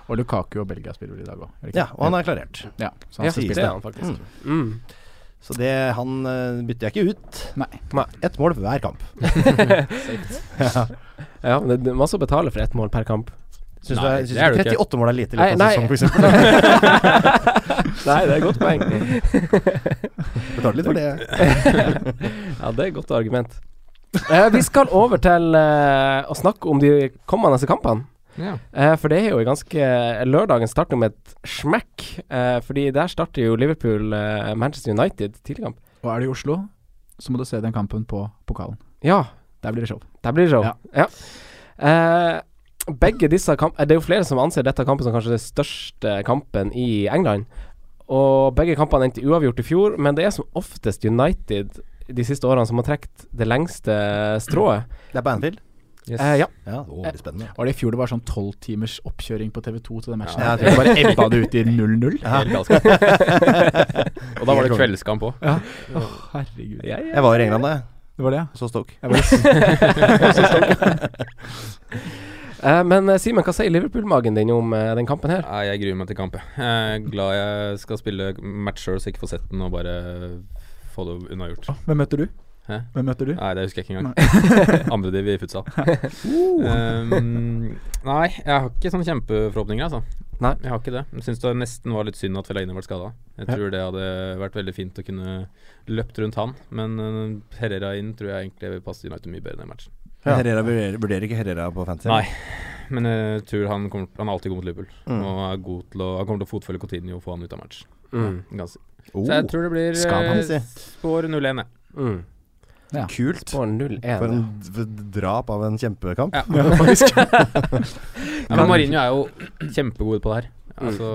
S5: Og Lukaku og Belgia spiller vel i dag òg.
S4: Ja, og han er klarert.
S5: ja, så han
S3: Ja,
S5: skal
S3: det
S5: spille.
S3: er han faktisk. Mm.
S4: Så det, han eh, bytter jeg ikke ut.
S5: Nei.
S4: Ett mål for hver kamp.
S3: Ja, men det det er masse å betale for ett mål per kamp.
S4: Syns du
S1: Nei,
S4: er- syns
S1: det er
S4: du
S1: det ikke.
S4: 38 mål er lite i
S3: Nei,
S4: løpet av
S3: nei.
S4: sesongen, for eksempel?
S3: Nei, det er et godt poeng.
S4: Betaler litt for det.
S3: Ja, det er et godt argument. Eh, vi skal over til eh, å snakke om de kommende kampene.
S1: Ja.
S3: Eh, for det er jo ganske eh, Lørdagen starter med et smekk. Eh, fordi der starter jo Liverpool-Manchester United tidligkamp.
S5: Og er du i Oslo, så må du se den kampen på pokalen.
S3: Ja,
S5: Der blir det show.
S3: der blir det show.
S5: Ja.
S3: Ja. Eh, begge disse kamp eh, Det er jo flere som anser dette kampen som kanskje den største kampen i England. Og begge kampene endte uavgjort i fjor, men det er som oftest United de siste årene som har trukket det lengste strået.
S4: Det er på Anfield.
S1: Yes.
S3: Eh, ja.
S4: Ja, det blir spennende.
S5: Var det i fjor det var sånn tolv timers oppkjøring på TV2 til den matchen?
S4: Ja,
S5: Ja,
S4: jeg tror
S5: bare ebba det ut i 0-0?
S1: Helt galskap. og da var det kveldskamp òg.
S5: Herregud.
S4: Jeg var i England da, jeg.
S5: Det var det, ja.
S4: så Stoke.
S5: Jeg var i-
S3: Eh, men eh, Simen, hva sier Liverpool-magen din om eh, den kampen her?
S1: Nei, jeg gruer meg til kamp, jeg. Jeg er glad jeg skal spille match sjøl, så jeg ikke får sett den og bare få det unnagjort.
S5: Å, Hvem møter du?
S1: Hæ?
S5: Hvem møter du?
S1: Nei, det husker jeg ikke engang. Andre div i futsal.
S3: Uh.
S1: Um, nei, jeg har ikke sånne kjempeforhåpninger, altså.
S3: Nei.
S1: Jeg har ikke det. Jeg syns det nesten var litt synd at Fellaini ble skada. Jeg
S3: Ja.
S1: tror det hadde vært veldig fint å kunne løpt rundt han, men eh, Herrera inn tror jeg egentlig vil passe United mye bedre i den matchen.
S3: Ja.
S4: Herrera vurderer, vurderer ikke Herrera på fantasy.
S1: Nei, men jeg tror han, kommer, han er alltid god mot Liverpool.
S4: Mm.
S1: Og er god til å, han kommer til å fotfølge Coutinho og få han ut av match.
S3: Mm.
S1: Ganske.
S4: Oh,
S1: Så jeg tror det blir
S4: skal han
S1: eh,
S4: si.
S1: spår 0-1. jeg.
S3: Mm.
S4: Kult.
S3: På 0-1.
S4: For
S3: ja.
S4: en d- d- drap av en kjempekamp.
S1: Ja.
S5: Ja, faktisk.
S1: Ja, men Marinho er jo kjempegod på det her.
S3: Mm.
S1: Altså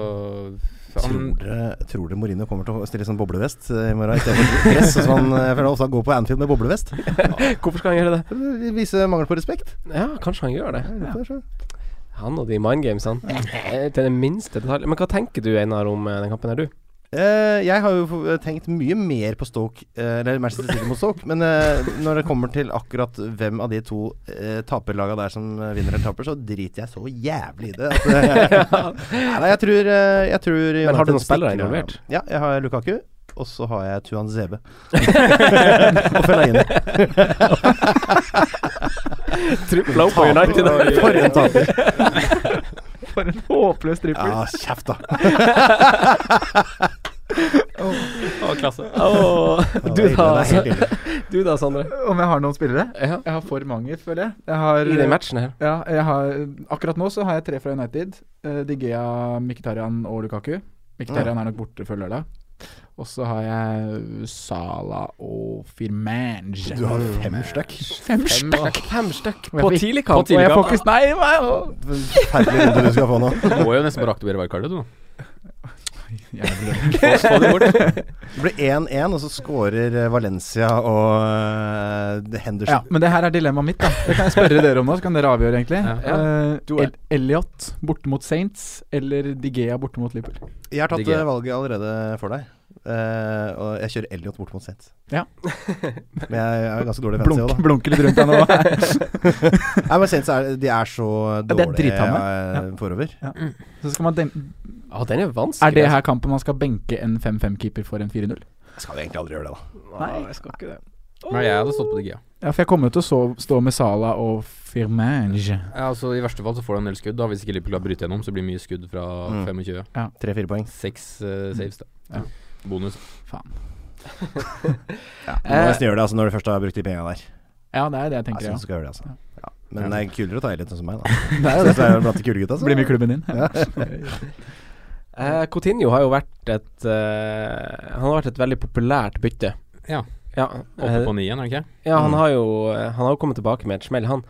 S1: han,
S4: Tror dere, tror dere Mourinho kommer til å stille sånn boblevest eh, i morgen istedenfor dress? Sånn som han eh, for han ofte går på Anfield med boblevest?
S3: Hvorfor skal han gjøre det?
S4: For å Vise mangel på respekt?
S3: Ja, kanskje han gjør det.
S4: Jeg lurer på det selv.
S3: Han og de mindgamesene. Eh, Til den minste detalj. Men hva tenker du, Einar, om eh, den kampen her, du?
S4: Eh, jeg har jo f- tenkt mye mer på Stoke, eh, eller Manchester City mot Stoke, men eh, når det kommer til akkurat hvem av de to uh, taperlaga der som eh, vinner eller taper, så driter jeg så jævlig i det. at, eh, Nei, jeg tror, eh, jeg tror
S3: Men har du
S4: United
S3: noen spillere
S4: stikker av.
S3: involvert?
S4: Ja, jeg har Lukaku. Og så har jeg Tuan Zebe. og Fellaini.
S3: Tripla opp på United.
S4: Taper. For en taper.
S3: For en håpløs trippel.
S4: Ja, kjeft, da.
S1: Å, klasse.
S3: du,
S4: det er
S3: da, altså.
S4: ille, det er helt ille.
S3: du da, Sondre.
S5: Om jeg har noen spillere?
S3: Ja.
S5: Jeg har for mange, føler jeg. jeg har,
S3: I den matchen her.
S5: Ja, jeg har, akkurat nå så har jeg tre fra United. Eh, Digea, Mkhitaryan og Lukaku. Mkhitaryan er nok borte før lørdag. Og så har jeg Sala og Firmange.
S4: Du har fem stykk.
S5: Fem stykk!
S3: Fem stykk
S5: Og jeg
S3: på
S5: fikk-
S3: tidlig
S5: Og
S3: kamp.
S5: jeg
S3: og
S5: får ikke Nei, hva?
S4: Forferdelig runde du skal få nå.
S1: Du må jo nesten bare aktivere wildcardet, du. nå.
S5: Jævlig.
S1: Få- få det bort.
S4: Det blir 1-1, og så scorer eh, Valencia og eh,
S5: Ja,
S4: Henderson.
S5: men det her er dilemmaet mitt, da. Det kan jeg spørre dere om nå, så kan dere avgjøre, egentlig.
S1: Ja.
S5: Eh,
S1: Du er-
S5: El Elliot borte mot Saints eller Digea borte mot Liverpool?
S4: Jeg har tatt
S1: Digger.
S4: eh, valget allerede for deg. Eh, og jeg kjører Elliot bort mot Saints.
S5: Ja.
S4: Men jeg jeg er ganske dårlig fancy òg,
S5: Blunk,
S4: da.
S5: blunker litt rundt deg nå.
S4: Nei, men Saints er, de er så
S5: det er
S4: dårlige
S5: drithamme.
S4: eh, forover.
S5: Så skal man dem
S3: Å, den er vanskelig. altså.
S5: er det her kampen man skal benke en 5-5-keeper for en 4-0?
S4: Skal vi egentlig aldri gjøre det, da.
S3: Nei, jeg skal ikke det.
S1: Nei, jeg hadde stått på DGA.
S5: Ja, for jeg kommer jo til å så, stå med Sala og Firmange.
S1: Ja, altså, I verste fall så får du en del skudd. da Hvis ikke Liverpool har brutt gjennom, så blir det mye skudd fra
S4: Mm.
S1: 25.
S4: Tre-fire poeng.
S1: Seks eh, saves, da.
S5: Ja.
S1: Bonus.
S4: Du må nesten gjøre det altså, når du først har brukt de pengene der.
S5: Ja, det er det jeg
S4: Jeg
S5: Eh. tenker,
S4: synes
S5: ja.
S4: du skal gjøre det, altså.
S5: Ja.
S4: Ja. Men det er kulere å ta Elliot enn som meg, da.
S5: Det
S4: Jeg
S5: er jo
S4: synes
S5: det.
S4: det er blant de kule gutta. så-
S5: Blir med i klubben din.
S3: Eh, Coutinho har jo vært et eh, Han har vært et veldig populært bytte.
S1: Ja.
S3: Ja,
S1: Oppe
S3: eh,
S1: på nien, er det ikke?
S3: ja han
S4: Mm.
S3: har jo eh, Han har jo kommet tilbake med et smell, han.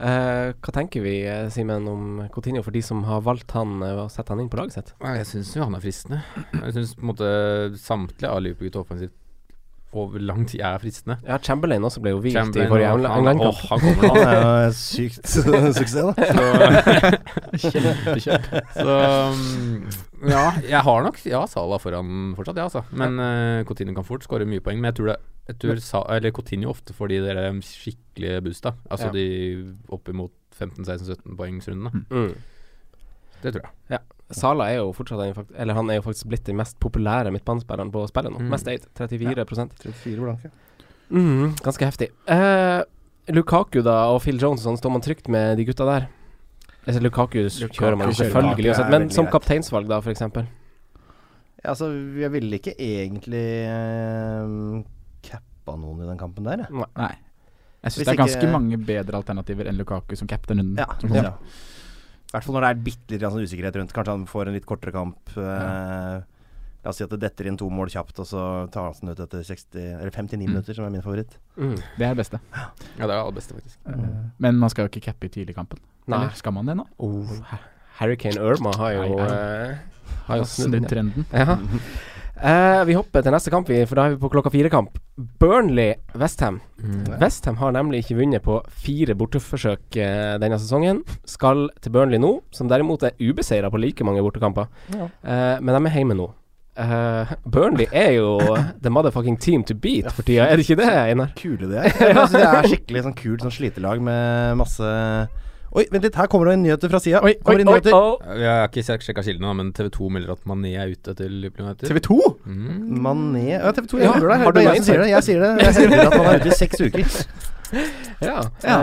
S3: Eh, hva tenker vi, eh, Simen, om Coutinho for de som har valgt han eh, og satt han inn på laget sitt?
S1: Nei, Jeg syns jo han er fristende. Jeg syns på en måte samtlige av Liverpool-gutta offensivt over lang tid er fristende.
S3: Ja, Chamberlain også ble jo hvilt i
S1: Chamberlain
S3: forrige
S1: og
S3: Engla-
S1: han-
S3: England-kamp.
S1: Åh, han kommer nå.
S4: Han er jo en sykt suksess, da.
S5: Kjempekjøp.
S1: Så mm, ja, jeg har nok ja, Sala foran fortsatt, ja, altså. Men eh, Coutinho kan fort skåre mye poeng. Men jeg tror, det, jeg tror Sa, eller Coutinho ofte får de der um, skikkelige boosta. Altså
S3: Ja.
S1: de oppimot 15-16-17 poengsrundene.
S3: Mm.
S1: Det tror jeg.
S3: Sala er jo fortsatt en, fakt- Eller han er jo faktisk blitt den mest populære midtbanespilleren på spillet nå.
S1: Mm.
S3: Mest eid, 34
S4: Fire blanke.
S3: Mm, ganske heftig. Eh, Lukaku da og Phil Jones, sånn, står man trygt med de gutta der? Altså, Lukaku, s-
S5: Lukaku
S3: kjører man jo
S5: kjører
S3: selvfølgelig,
S4: Lukaku,
S3: uansett,
S4: er
S3: men
S4: veldig
S3: som
S4: greit.
S3: kapteinsvalg da, f.eks.
S4: Ja, altså, jeg ville ikke egentlig eh, cappa noen i den kampen der, jeg.
S5: Nei. Jeg
S4: Hvis
S5: syns det er ganske
S4: ikke-
S5: mange bedre alternativer enn Lukaku som cap'n runden.
S4: Ja,
S5: Som
S4: Mm. ja.
S5: kommer.
S4: I hvert fall når det er bitte litt sånn usikkerhet rundt. Kanskje han får en litt kortere kamp. eh, La oss si at det detter inn to mål kjapt, og så tar han den ut etter 60, eller 59
S5: Mm.
S4: minutter, som er min favoritt.
S3: Mm.
S5: Det er det beste.
S1: Ja, det er det aller beste, faktisk.
S5: Eh, Men man skal jo ikke cappe i tidligkampen.
S3: Nei.
S5: Eller skal man det nå?
S3: Oh, Ha- Hurricane Irma har jo,
S5: Nei, nei.
S3: eh, har jo snudd den.
S5: Snudd trenden.
S3: Ja. Eh, vi hopper til neste kamp, vi, for da er vi på klokka fire-kamp. Burnley-Westham.
S1: Mm.
S3: Westham har nemlig ikke vunnet på fire borteforsøk eh, denne sesongen. Skal til Burnley nå, som derimot er ubeseira på like mange bortekamper. Eh, men de er hjemme nå. Eh, Burnley er jo the motherfucking team to beat for tida, er det ikke det, Einar?
S4: Kule de er. Jeg synes det er skikkelig sånn kult sånn slitelag med masse Oi, vent litt, her kommer det nyheter fra sida.
S5: Oi,
S4: Kommer det nyheter.
S3: oh.
S1: Jeg har ikke sjekka kildene, da, men TV2 melder at Mané er ute til Liverpool United.
S5: TV2!
S1: Mm.
S4: Mané ja,
S3: Ja,
S4: TV2 jeg hører deg.
S3: har du
S4: Det er
S3: noe
S4: jeg som sier det. Jeg sier det. Jeg hevder at han er ute i seks uker.
S3: Ja.
S4: Ja,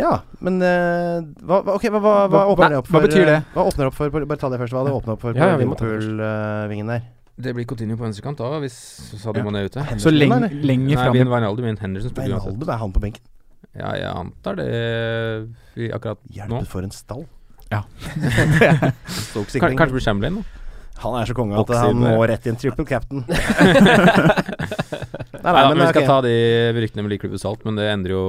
S4: ja. men eh, hva, hva- ok, hva, hva, hva
S5: Hva-
S4: åpner det opp
S5: hva
S4: for?
S5: betyr det?
S4: eh, Hva åpner opp for Bare bare ta det først. Hva det åpner opp for på
S3: Ja, ja, vi må ta det
S4: Liverpool-vingen der?
S1: Det blir Coutinho på venstrekant da, hvis Sadio
S5: Ja.
S1: Mané er ute.
S5: Så lenge,
S4: Henderson, eller?
S5: lenge
S1: Nei,
S5: fram i
S1: Vin Wijnaldum, Vin Henderson spiller uansett.
S4: Wijnaldum, er han på benken?
S1: Ja, jeg antar det eh, vi akkurat nå.
S4: Hjelpet for en stall.
S5: Ja.
S1: Kan-
S4: Stokes sikring.
S1: Kanskje det blir Chamberlain, da.
S4: Han er så konge at
S1: Vokser
S4: han
S1: inn der.
S4: må rett i en triple captain. nei, nei,
S1: Nei,
S4: men,
S1: men vi skal
S4: ok.
S1: ta de ryktene med like klubb og salt, men det endrer jo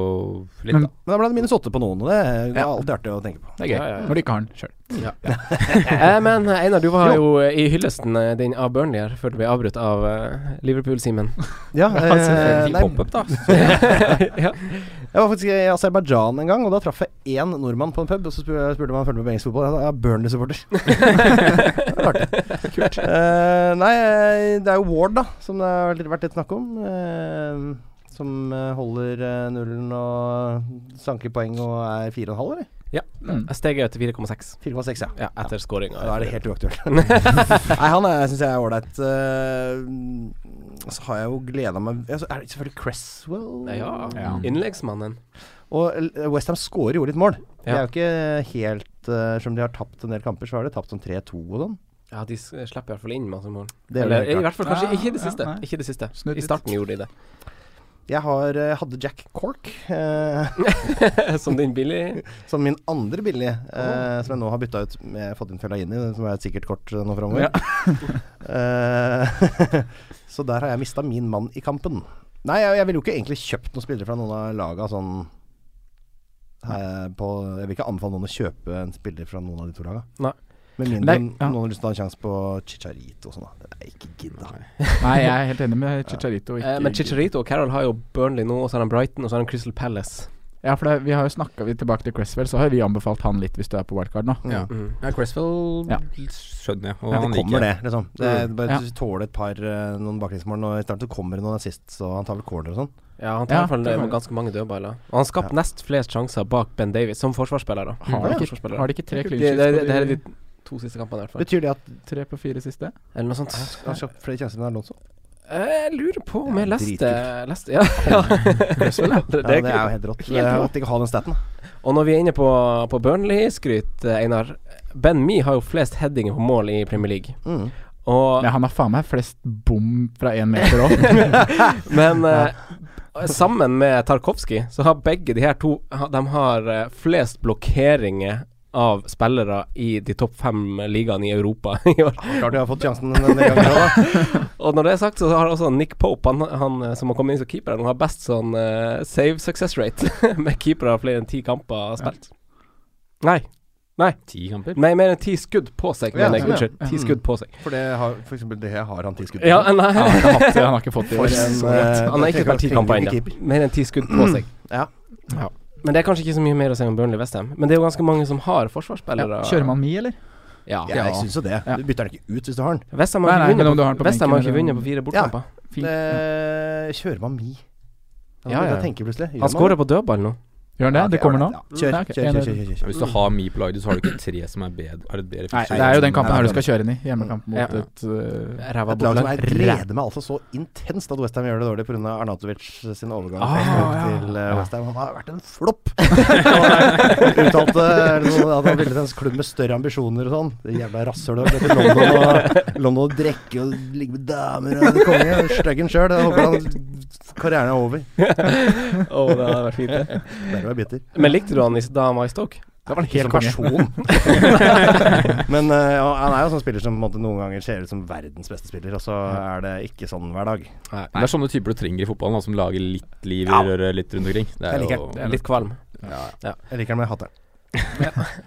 S1: litt,
S5: Men-
S1: da.
S4: men da ble det minus åtte på noen, og det er det er alltid artig å tenke på.
S5: Det er gøy.
S3: Ja, ja, ja.
S5: Når de ikke har den sjøl.
S3: Eh, men Einar, du var jo eh, i hyllesten eh, din av Burnley her før du ble avbrutt av eh, Liverpool-Simen.
S4: Ja, eh,
S1: Selvfølgelig
S4: nei,
S1: pop-up, da.
S3: ja.
S4: jeg var faktisk i Aserbajdsjan en gang, og da traff jeg én nordmann på en pub. Og så spurte jeg spurte om han fulgte med på engelsk fotball. Jeg sa, Jeg er Burnley-supporter. Det var artig. Eh, nei, eh, det er jo Ward, da, som det har vært- vært litt snakk om. eh, som eh, holder eh, nullen og sanker poeng og er 4,5, eller?
S5: Mm.
S3: Jeg steg ut til 4,6
S4: 4,6, ja.
S3: ja, etter skåringa.
S4: Da er det helt uaktuelt. Nei, han syns jeg er ålreit. Eh, så har jeg jo gleda meg ja, så Er det selvfølgelig Cresswell?
S3: Ja.
S5: Ja.
S3: Innleggsmannen.
S4: Og eh, Westham skårer jo litt mål. Det
S3: Ja.
S4: er jo ikke helt eh, Som de har tapt en del kamper, så har de tapt sånn 3-2 og sånn.
S3: ja, de s- slipper i hvert fall inn masse mål.
S4: Det er vel
S3: Eller
S4: helt
S3: i
S4: klart.
S3: hvert fall kanskje
S5: Ja,
S3: ikke i det
S5: ja,
S3: siste.
S5: nei.
S3: Ikke i det siste. I
S5: Snudd litt.
S3: starten gjorde de det.
S4: Jeg har, eh, hadde Jack Cork eh,
S3: Som din billig
S4: som min andre billig, eh, som jeg nå har bytta ut med fått inn Fellaini, som er et sikkert kort eh, nå framover. Eh, så der har jeg mista min mann i kampen. Nei, jeg, jeg ville jo ikke egentlig kjøpt noen spillere fra noen av laga sånn eh, på, Jeg vil ikke anbefale noen å kjøpe en spiller fra noen av de to laga.
S3: Nei.
S4: Med mindre
S5: Nei,
S4: noen
S5: ja.
S4: har lyst til å ha en sjanse på Chicharito og sånn, da. Det er ikke gidda.
S5: Nei, jeg er helt enig med Chicharito. ikke-
S3: eh, Men Chicharito og Carol har jo Burnley nå, og så har han Brighton, og så har han Crystal Palace.
S5: Ja, for det, vi har jo snakka tilbake til Cresswell, så har vi anbefalt han litt hvis du er på wildcard nå.
S1: Ja.
S3: Mm.
S1: Ja, Cresswell
S5: Ja.
S1: skjønner jeg. Og
S4: Ja,
S1: han
S4: det
S1: liker
S4: kommer
S1: jeg.
S4: det, liksom. Det er
S3: Mm.
S4: bare
S5: Ja.
S4: Du tåler et par eh, noen baklengsmål, og i starten så kommer det noen assist, så han tar vel corner og sånn.
S3: Ja, han tar
S5: Ja,
S3: i hvert fall
S5: det
S3: eh,
S5: kan-
S3: ganske mange dødballer. Og han skapte nest flest sjanser bak Ben Davies, som forsvarsspiller, da.
S5: Har,
S3: Ja,
S5: de ikke,
S3: forsvarsspiller.
S5: har de ikke tre
S3: det, det, det,
S5: klinskift
S3: her
S5: på
S3: er de
S5: de
S3: to siste kampene, i hvert fall.
S4: Betyr det at
S5: tre på fire siste?
S3: Eller noe sånt.
S4: han slapp flere sjanser enn Alonso?
S3: Eh, Jeg lurer på om
S4: Ja,
S3: jeg leste,
S4: dritkult.
S3: leste Ja. ja.
S4: Ja, det er jo helt rått. Det er At de ikke har den staten.
S3: Og når vi er inne på, på Burnley-skryt, eh, Einar Ben Me har jo flest headinger på mål i Premier League.
S4: Mm.
S3: Og,
S5: Nei, han har faen meg flest bom fra én meter òg.
S3: Men eh, sammen med Tarkovskij så har begge de her to ha- De har eh, flest blokkeringer av spillere i de topp fem ligaene i Europa i år.
S4: Klart de har fått sjansen denne gangen òg, da.
S3: Og når det er sagt, så har også Nick Pope, han, han eh, som har kommet inn som keeper, her nå, har best sånn eh, save success rate med keepere flere enn ti kamper spilt. Nei.
S1: Ti kamper.
S3: Nei, mer enn ti skudd på seg,
S4: Ja,
S3: mener jeg.
S4: ja, ja.
S3: Unnskyld. Ti skudd på seg.
S4: For det har for eksempel det har han ti skudd på.
S3: Ja, nei.
S5: Han har ikke hatt det, han har ikke fått det. i
S4: For
S5: år.
S4: en, eh,
S3: Han har ikke
S4: tenker
S3: tatt ti
S4: jeg
S3: kamper
S4: tenker
S3: ennå.
S4: keeper.
S3: Mer enn ti skudd på seg.
S4: Ja.
S5: Ja.
S3: Men det er kanskje ikke så mye mer å si om Burnley Westham. Men det er jo ganske mange som har forsvarsspillere.
S5: Ja. Kjører man mi, eller?
S3: Ja.
S4: ja, jeg syns jo det.
S5: Ja.
S4: Du bytter den ikke ut hvis du har den.
S3: Westham
S5: Nei,
S3: har,
S5: nei,
S3: ikke
S5: men om
S3: vunnet
S5: du har den
S3: på-
S5: på
S3: West Ham har
S5: benken
S3: ikke
S5: eller-
S3: vunnet på fire bortkamper.
S5: Fint.
S4: Eh, kjører man mi? Ja,
S3: Ja, ja.
S4: Jeg tenker plutselig. Gjør
S3: Han
S4: man
S3: skårer på dødball nå.
S5: Gjør han det?
S4: Ja,
S5: Det kommer nå?
S4: ja. Kjør,
S5: Ja, ok.
S4: kjør, kjør. kjør, kjør,
S1: Ja,
S4: kjør.
S1: hvis du har Mi på laget, så har du ikke tre som er bedre. Er et bedre
S5: Nei,
S1: forsvar.
S5: det er jo den kampen
S4: Nei,
S5: her du
S4: det er
S5: skal kjøre inn i. Hjemmekamp mot
S3: Ja.
S5: et øh,
S3: Ræva
S4: Et lag som
S3: bortlag.
S4: jeg gleder meg altså så intenst at Westham gjør det dårlig pga. Arnatovic sin overgang
S5: Ah, ja.
S4: til eh, West Ham Han har vært en flopp! Han uttalte eller noe, at han ville til en klubb med større ambisjoner og sånn. Det jævla rasshølet dette London og London og drikke og ligge med damer og konge. Styggen sjøl. Jeg Håper han karrieren er over.
S3: Å, det hadde vært fint. det.
S4: Der var jeg bitter.
S3: Men likte du han i- da han var i Stoke? Liksom
S5: Det var en
S4: Som person. Men eh, ja, han er jo sånn spiller som på en måte, noen ganger ser ut som verdens beste spiller, og så er det ikke sånn hver dag.
S1: Det er sånne typer du trenger i fotballen, da, som lager litt liv i
S4: Ja.
S1: røret litt rundt omkring. Det er
S4: Jeg liker
S1: jo
S3: Litt kvalm.
S1: ja,
S4: Jeg liker han med hatteren.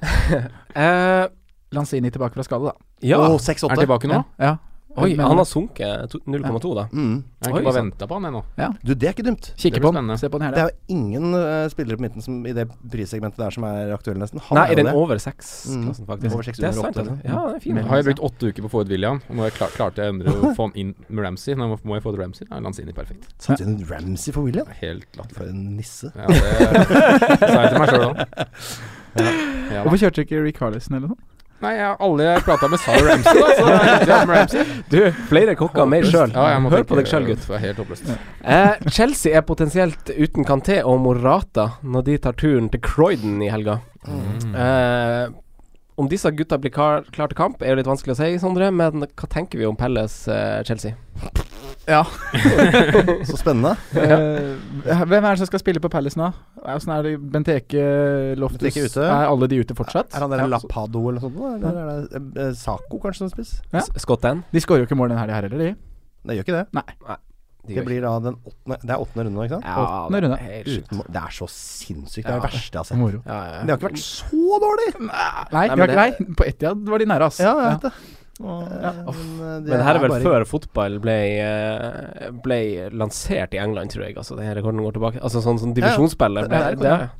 S3: Eh,
S5: Lanzini tilbake fra skade, da.
S3: ja.
S4: Åh,
S1: Er
S4: 6-8.
S1: han tilbake nå?
S5: Ja. ja.
S3: Oi,
S5: Men-
S3: han har sunket to- 0,2, da.
S4: Mm.
S1: Jeg har
S3: Oi,
S1: ikke bare
S3: sant.
S1: venta på han ennå.
S4: Du, det er ikke dumt.
S1: Det
S5: Kikker
S1: blir
S5: på den.
S1: spennende.
S5: Se på den
S4: Det
S5: her.
S4: er jo ingen eh, spillere på midten som, i det prissegmentet der som er aktuelle, nesten. Han
S3: Nei, er
S4: er jo
S3: den
S4: det.
S3: over seks-klassen,
S4: Mm.
S3: faktisk?
S4: Over
S3: det
S4: seks,
S3: er
S4: under
S3: sant,
S4: åtte,
S3: det.
S4: liksom.
S3: Ja, den er fin.
S5: Men-
S1: Har jeg brukt åtte uker på å få ut William, og nå har jeg klar, klarte jeg å endre å få han inn med Ramsey. Nå må- må jeg få ut Ramsey. Da er Lanzini perfekt.
S4: Satt inn Ramsey for William.
S1: Det er Helt latterlig.
S4: For en nisse.
S1: Ja, det sa jeg til meg sjøl òg. Ja, da.
S5: Hvorfor kjørte ikke Rick Harlison eller noe?
S1: Nei, jeg, alle jeg prata med, sa jo Ramsey, da. Så jeg er med Ramsey.
S3: Du, flere kokker, mer sjøl.
S1: Ja, jeg må
S3: Hør
S1: tenke-
S3: på deg sjøl, gutt.
S1: Det er helt håpløst.
S3: Eh, Chelsea er potensielt uten Kanté og Morata når de tar turen til Croydon i helga.
S1: Mm.
S3: Eh, om disse gutta blir klar, klar til kamp, er jo litt vanskelig å si, Sondre, men hva tenker vi om Pelles eh, Chelsea?
S4: Så spennende.
S5: Eh, hvem er det som skal spille på Palace nå? Åssen er det Benteke, Loftus
S4: Benteke ute.
S5: Er alle de ute fortsatt?
S4: Er han der
S5: Ja.
S4: Lapado eller noe sånt? nå, Eller er det eh, eh, Saco kanskje som spiss?
S5: Ja.
S3: S- Scott Dan?
S5: De skårer jo ikke mål denne helga heller, de.
S4: Nei, gjør ikke det.
S3: De
S4: Det
S3: gjør
S4: blir da den åttende Det er åttende runde nå, ikke sant?
S3: Ja,
S5: Åttende
S3: det er
S5: runde.
S3: helt sjukt.
S4: Uten, det er så sinnssykt. Det er
S3: Ja.
S4: det verste jeg har sett.
S5: Moro.
S3: Ja, ja, ja.
S4: Men det har ikke vært så dårlig!
S5: Nei,
S3: Nei,
S5: de har
S3: men
S5: ikke- nei, på Etiad var de nære, ass.
S4: Ja, jeg vet det.
S5: Og-
S4: Eh,
S5: ja.
S4: Men, eh, det
S3: Men det her er vel
S4: bare-
S3: før fotball ble, eh, ble lansert i England, tror jeg. Altså, den her rekorden går tilbake. Altså sånn, sånn divisjonsspillet. Ble,
S4: Ja, ja.
S3: det, er-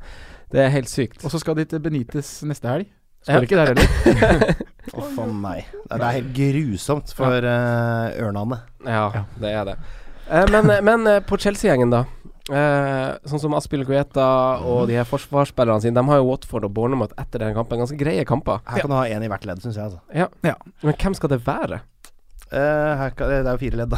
S3: det er helt sykt.
S5: Og så skal de til Benitez neste helg.
S3: Ja.
S5: Skårer ikke der heller.
S4: Å, faen meg. Det er- det er helt grusomt for eh, ørnene.
S3: Ja, det er det. Eh, men, men eh, på Chelsea-gjengen, da. Eh, sånn som Aspil Guetta og de her forsvarsspillerne sine. De har jo Watford og Bournemouth etter den kampen. Ganske greie kamper.
S4: Her kan du ha én i hvert ledd, syns jeg. Altså.
S3: Men hvem skal det være?
S4: Eh, her kan, det er jo fire ledd, da.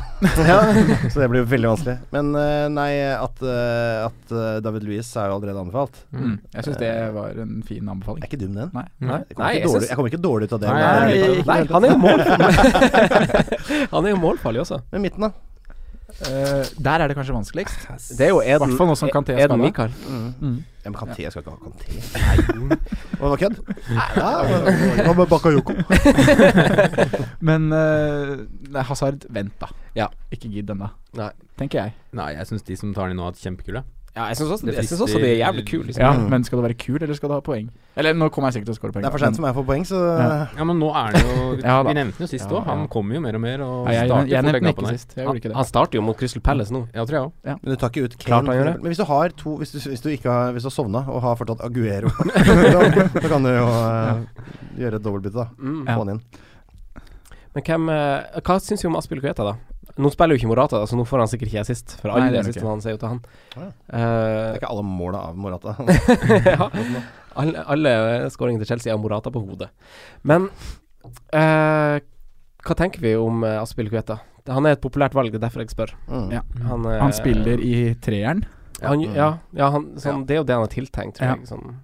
S4: så det blir jo veldig vanskelig. Men eh, nei, at, eh, at eh, David Louis er jo allerede anbefalt.
S5: Mm. Jeg syns det var en fin anbefaling.
S4: Er ikke dum, den.
S5: Nei.
S1: Nei.
S4: Jeg kommer,
S3: Nei,
S4: ikke,
S3: jeg
S4: dårlig,
S3: syns
S4: jeg kommer ikke dårlig ut av det.
S1: Nei,
S4: men,
S1: nei,
S4: det er litt-
S3: Nei, han er jo mål Han er jo målfarlig også.
S4: men midten, da?
S5: Eh, der er det kanskje vanskeligst.
S3: Det er jo
S5: I hvert
S3: Eden,
S5: fall nå som Kanté
S3: Eden
S5: spiller.
S3: Mikael.
S5: Mm.
S4: Ja, men Kanté, jeg skal ikke ha Kanté. Nei. Var det kødd? Ja, Hva med Bakayoko?
S5: Men eh, nei, Hazard, vent, da.
S3: Ja.
S5: Ikke gidd ennå,
S3: Nei.
S5: tenker jeg.
S1: Nei, jeg syns de som tar den inn nå, har hatt kjempekule.
S3: Ja, jeg syns også,
S1: Det
S3: jeg synes
S1: frister-
S3: også det er jævlig kult. Liksom.
S5: Ja,
S4: Mm.
S5: Men skal du være kul, eller skal du ha poeng? Eller nå kommer jeg sikkert til å score poeng.
S4: Det er for seint
S5: men-
S4: som jeg får poeng, så
S5: Ja.
S1: Ja, men nå er det jo
S5: Ja, da.
S1: Vi nevnte den jo sist
S5: Ja,
S1: òg. Han
S5: ja.
S1: kommer jo mer og mer. Og
S5: Nei, jeg,
S1: starter
S5: jeg, jeg
S1: fort
S5: nevnte den
S1: kampene.
S5: ikke sist. Jeg gjorde ikke det.
S3: Han starter jo mot Crystal Palace nå.
S1: Ja, tror jeg òg.
S4: Men du tar ikke ut
S3: Klart han
S4: for
S3: gjør det.
S4: eksempel. Men hvis du har to Hvis du, hvis du ikke har Hvis du har sovna og har fortsatt Aguero, da, da kan du jo eh, gjøre et dobbeltbytte, da.
S3: Mm.
S5: Ja.
S4: Få han inn.
S3: Men hvem, eh, hva syns vi om Aspil Kueta, da? Nå spiller jo ikke Morata, da, så nå får han sikkert ikke assist. For alle
S5: Nei, det er
S3: assistene hans er jo til han.
S4: Ja. Det
S3: Eh,
S4: er ikke alle måla av Morata.
S3: ja, alle, alle skåringene til Chelsea har Morata på hodet. Men eh, hva tenker vi om eh, Aspil Kueta? Han er et populært valg, det er derfor jeg spør.
S4: Mm.
S5: Ja.
S3: Han, eh,
S5: Han spiller i treeren.
S3: Han,
S4: Mm.
S3: ja, ja han, sånn, det er jo det han er tiltenkt, tror
S5: Ja.
S3: jeg. Sånn.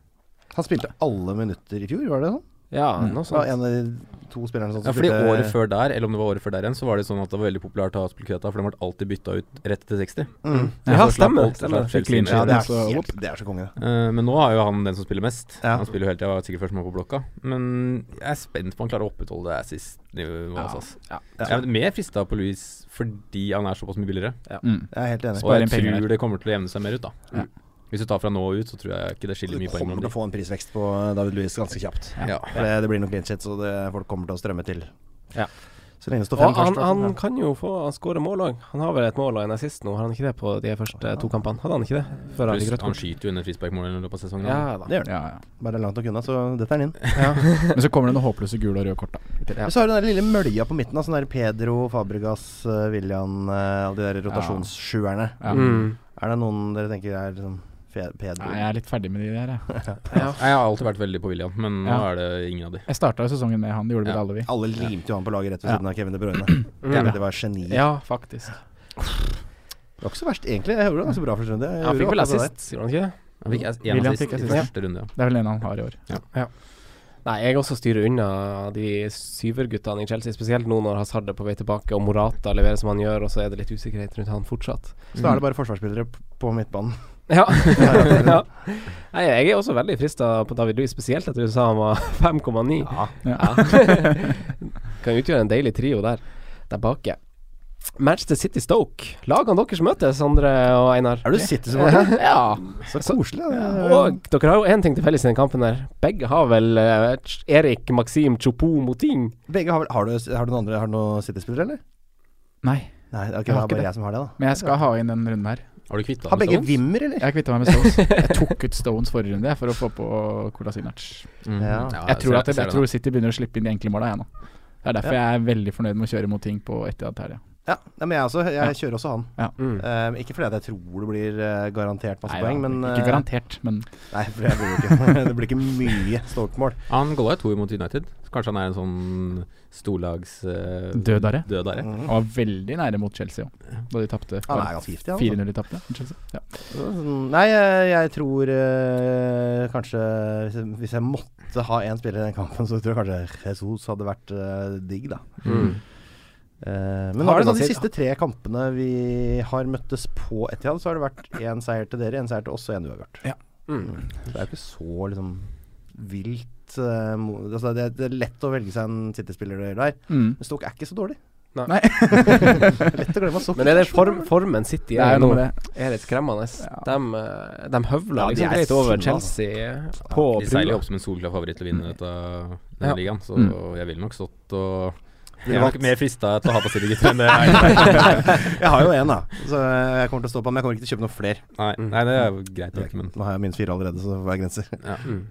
S4: Han spilte alle minutter i fjor, var det sånn?
S3: Ja,
S5: Mm.
S3: noe
S4: Så
S3: sånt.
S4: var en av de to spillerne som
S1: Ja, fordi
S4: spilte-
S1: året før der, eller om det var året før der igjen, så var det sånn at det var veldig populært å ha Spilkveta, for de ble alltid bytta ut rett etter 60.
S4: mm.
S3: Ja,
S1: Så slapp
S3: stemmer.
S1: alt-
S3: stemmer.
S1: slapp Chelsea
S5: Clean
S1: inn.
S5: sheet.
S4: Ja, det er,
S5: Så,
S4: helt, det er så konge, det.
S1: Eh, men nå er jo han den som spiller mest.
S4: Ja.
S1: Han spiller jo hele tida, var sikkert først med på blokka. Men jeg er spent på om han klarer å opprettholde det assist-nivået.
S5: Ja.
S1: altså, ass.
S3: Ja.
S1: Jeg er mer frista på Louis fordi han er såpass mye billigere.
S5: Mm.
S4: Jeg er helt enig.
S1: Og
S5: Sparer
S1: jeg
S5: inn penger
S1: tror det kommer til å jevne seg mer ut, da.
S5: Ja.
S1: Hvis du tar fra nå og ut, så tror jeg ikke det
S4: Du
S1: skiller mye poeng
S4: kommer til
S1: mellom
S4: å
S1: de.
S4: få en prisvekst på eh, David Louis ganske kjapt.
S1: Ja.
S4: For det, det blir nok clean shit, så det, folk kommer til å strømme til.
S3: Ja.
S4: Så lenge det står
S3: Og
S4: fem
S3: han,
S4: først. da, så-
S3: han kan jo få Han skårer mål òg. Han har vel et mål og en assist nå, har han ikke det på de første to kampene? Hadde han ikke det? Før han
S1: Pluss,
S3: fikk rødt
S1: han
S3: kort?
S1: skyter jo under frisparkmålet i løpet av sesongen.
S3: Ja
S1: han.
S3: da.
S4: Det gjør det.
S5: Ja, ja.
S4: Bare langt nok unna, så dette er den inn.
S5: Men så kommer det noen håpløse gule og røde kort, da.
S3: Ja.
S4: Men Så har du den der lille mølja på midten, da, sånn der Pedro, Fabregas, eh, Willian, eh, alle de der rotasjonssjuerne.
S5: Ja.
S3: Mm.
S4: Er det noen dere tenker er sånn Fe- Pedro?
S5: Nei, jeg er litt ferdig med de der, jeg.
S3: Ja.
S1: Jeg har alltid vært veldig på William, men nå
S5: Ja.
S1: er det ingen av de.
S5: Jeg starta sesongen med han, det gjorde vel
S1: Ja.
S5: alle vi.
S4: Alle limte jo han på laget rett ved
S5: Ja.
S4: siden av Kevin De Bruyne.
S3: Mm.
S4: Det var geni.
S3: ja, faktisk.
S4: Det var ikke så verst, egentlig. Jeg gjorde det altså, ganske bra første runde. Jeg
S3: Han
S4: gjorde
S3: fikk vel
S4: akkurat det der.
S3: assist, gjorde han ikke det?
S1: Han fikk ass- en
S5: William
S1: assist
S5: fikk
S1: i
S5: assist, ja.
S1: første runde, ja.
S5: Det er vel en han har i år.
S3: Nei, jeg også styrer unna de syverguttene i Chelsea, spesielt nå når Hazard er på vei tilbake og Morata leverer som han gjør, og så er det litt usikkerhet rundt han fortsatt.
S4: Så da er det
S5: Mm.
S4: bare forsvarsspillere p- på midtbanen.
S3: Ja. ja. Nei, jeg er også veldig frista på David Louis, spesielt etter du sa han var 5,9.
S4: Ja.
S3: Ja. kan utgjøre en deilig trio der, der bake. Manchester City Stoke. Lagene deres møtes, Sondre og Einar.
S4: Er du City-supporter?
S3: ja.
S4: Så koselig. da.
S3: Og dere har jo én ting til felles i den kampen der. Begge har vel eh, Erik Maxim Chopo Moting.
S4: Begge har vel Har du, har du noen andre Har du noen City-spillere, eller?
S5: Nei,
S4: Nei, ok,
S5: Jeg
S4: det
S5: har
S4: er bare
S5: ikke det.
S4: jeg som har det, da.
S5: men jeg skal ha inn den runden her.
S1: Har du kvitta
S4: Har
S1: med
S4: begge
S1: Stones?
S4: Wimmer, eller?
S5: Jeg kvitta meg med Stones. Jeg tok ut Stones forrige runde jeg, for å få på Kolasinac.
S1: Mm.
S4: Ja.
S5: Jeg tror,
S1: ser-
S5: at jeg,
S1: ser
S5: jeg
S1: det
S5: tror City begynner å slippe inn de enkle måla, jeg nå. Det er derfor jeg er veldig fornøyd med å kjøre mot ting på Etihad her, ja.
S4: Ja, nei, men jeg, også, jeg kjører også han.
S3: Mm.
S4: Eh, ikke fordi at jeg tror det blir eh, garantert masse
S5: Nei,
S4: poeng, men
S5: da,
S4: eh,
S5: Ikke garantert, men
S4: Nei, for jeg blir jo ikke Det blir ikke mye Stoke-mål.
S1: Han golla jo to imot United. Så kanskje han er en sånn storlags eh,
S5: Dødare.
S1: dødare.
S4: Mhm.
S5: han var veldig nære mot Chelsea òg, da de tapte.
S4: Han er ganske giftig, han. altså.
S5: 4-0 de tapte. mot Chelsea. Ja.
S4: Sånn, Nei, eh, jeg tror eh, kanskje hvis jeg, hvis jeg måtte ha én spiller i den kampen, så tror jeg kanskje Jesus hadde vært eh, digg, da.
S1: Mm.
S4: Eh,
S3: Har
S4: men nå er
S3: du
S4: det sånn,
S3: noe
S4: de
S3: til-
S4: siste tre kampene vi har møttes på Etihad, så har det vært én seier til dere, én seier til oss og én uavgjort.
S3: Mm.
S4: Så Det er jo ikke så liksom vilt eh, mo- altså, det, det er lett å velge seg en City-spiller der.
S5: Mm.
S4: Men Stoke er ikke så dårlig.
S3: Nei.
S5: Nei.
S4: lett å glemme at Stoke
S3: Men er det
S4: ikke så
S3: form,
S4: dårlig.
S3: formen City
S5: Det
S3: er
S5: er jo
S3: nå?
S5: noe med det.
S3: Er litt skremmende.
S5: Ja.
S3: De, eh, de høvler
S4: Ja, de
S3: liksom
S4: er
S3: greit over
S4: sinna,
S3: Chelsea eh, på
S1: De seiler jo
S3: brua.
S1: opp som en solklar favoritt til å vinne dette, denne
S3: Ja.
S1: ligaen, så
S5: Mm.
S1: jeg ville nok stått og Jeg
S4: Ville
S1: er nok
S4: valgt-
S1: mer frista til å ha på City-gutter enn det er.
S4: Jeg har jo én, da. Så jeg kommer til å stå på, men jeg kommer ikke til å kjøpe noen flere.
S1: Nei,
S5: Mm.
S1: nei, det er jo greit nok, men
S4: Nå har jeg minst fire allerede, så hva er grenser?
S1: ja.
S3: Mm.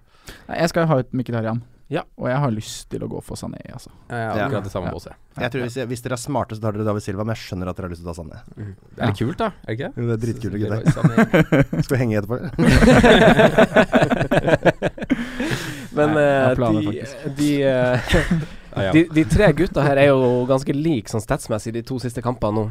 S5: Nei, Jeg skal ha ut Mkhitaryan.
S3: Ja.
S5: Og jeg har lyst til å gå for Sané, altså.
S1: Jeg har
S4: Ja.
S1: akkurat det samme
S5: Ja.
S1: båset. jeg.
S4: Jeg tror hvis, jeg, hvis dere er smarte, så tar dere David Silva, men jeg skjønner at dere har lyst til å ta Sanne.
S1: Det er litt kult, da. Er det ikke?
S4: Jo, det er dritkule gutter.
S1: gutter.
S4: Skal vi henge etterpå?
S3: Men
S5: Nei, jeg har
S3: eh,
S5: planer,
S3: de,
S5: faktisk.
S3: de, eh,
S1: Ja, ja.
S3: de, de tre gutta her er jo ganske like sånn statsmessig de to siste kampene nå.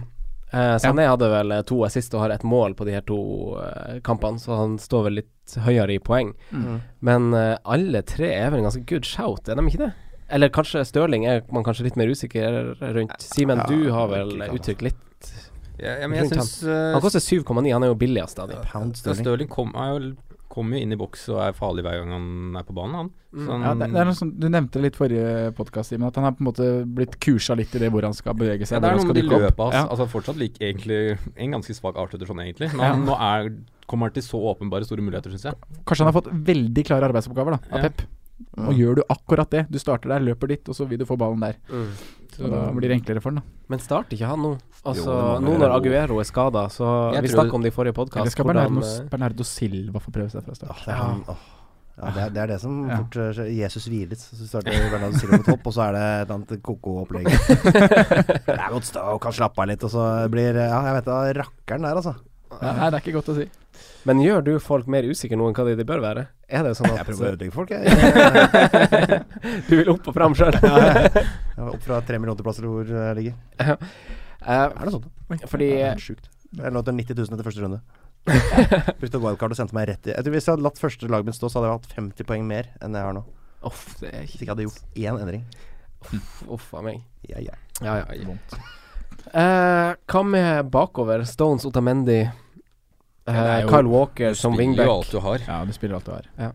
S3: Eh, Sané hadde vel eh, to assist og har ett mål på de her to eh, kampene, så han står vel litt høyere i poeng.
S5: Mm.
S3: Men eh, alle tre er vel en ganske good shout, er de ikke det? Eller kanskje Stirling er man kanskje litt mer usikker rundt. Simen,
S4: Ja,
S3: du har vel
S4: ikke sant.
S3: uttrykt litt
S1: Ja, ja, men jeg syns
S3: Han koster 7,9, han er jo billigst av de.
S4: Pound Sterling.
S1: Stirling kom, er jo- kommer jo inn i boks og er farlig hver gang han er på banen, han. Sånn- Så han
S5: Mm. Ja, det, det er noe som, du nevnte litt forrige podkast, Simen, at han har på en måte blitt kursa litt i det hvor han skal bevege
S1: Ja,
S5: seg.
S1: det er noe
S5: hvor han
S1: med
S5: skal
S1: de
S5: dukke opp.
S1: løpa hans.
S5: Ja.
S1: Altså fortsatt lik egentlig en ganske svak avslutter sånn egentlig, men han- nå er, kommer han til så åpenbare store muligheter, syns jeg.
S5: Kanskje han har fått veldig klare arbeidsoppgaver da, av
S1: Ja.
S5: Pep. Og gjør du akkurat det, du starter der, løper dit, og så vil du få ballen der.
S1: Så
S5: Så da blir det enklere for han, da.
S3: Men starter ikke han nå? Altså,
S1: Jo, det må
S3: nå
S1: være
S3: når
S1: lov.
S3: Aguero er skada, så
S1: Jeg
S3: Vi
S1: tror-
S3: snakka om det i forrige eh, podkast.
S5: Eller skal Bernardo, Bernardo Silva få prøve seg fra start?
S4: Åh, det, er han, åh. Ja, det, er, det er det som
S5: Ja.
S4: fort eh, skjer. Jesus hvilet, så starter Bernardo Silva på topp, og så er det et annet koko-opplegg. Det er godt stå og kan slappe av litt, og så blir eh, Ja, jeg vet da, rakkeren der, altså.
S5: Ja, nei, det er ikke godt å si.
S3: Men gjør du folk mer usikre nå enn hva de, de bør være? Er det sånn at
S4: Jeg prøver å ødelegge folk, jeg.
S3: Du vil opp og fram sjøl?
S4: Jeg var Opp fra tre millioner til plass eller hvor jeg ligger. Er det sånn?
S3: fordi
S4: Det er helt sjukt. Jeg lå til 90 000 etter første runde. Brukte wildcard og sendte meg rett i Jeg tror Hvis jeg hadde latt første laget mitt stå, så hadde jeg hatt 50 poeng mer enn jeg har nå.
S3: Uff, det er
S4: Hvis jeg ikke hadde gjort én endring.
S3: ikke Uff a meg.
S4: Ja, ja.
S3: Ja, ja. Eh, hva med bakover? Stones, Otamendi, eh,
S5: Ja, det er jo-
S3: Kyle Walker som
S1: spiller jo alt
S3: wingback.
S1: du har.
S5: Ja, du spiller alt du har.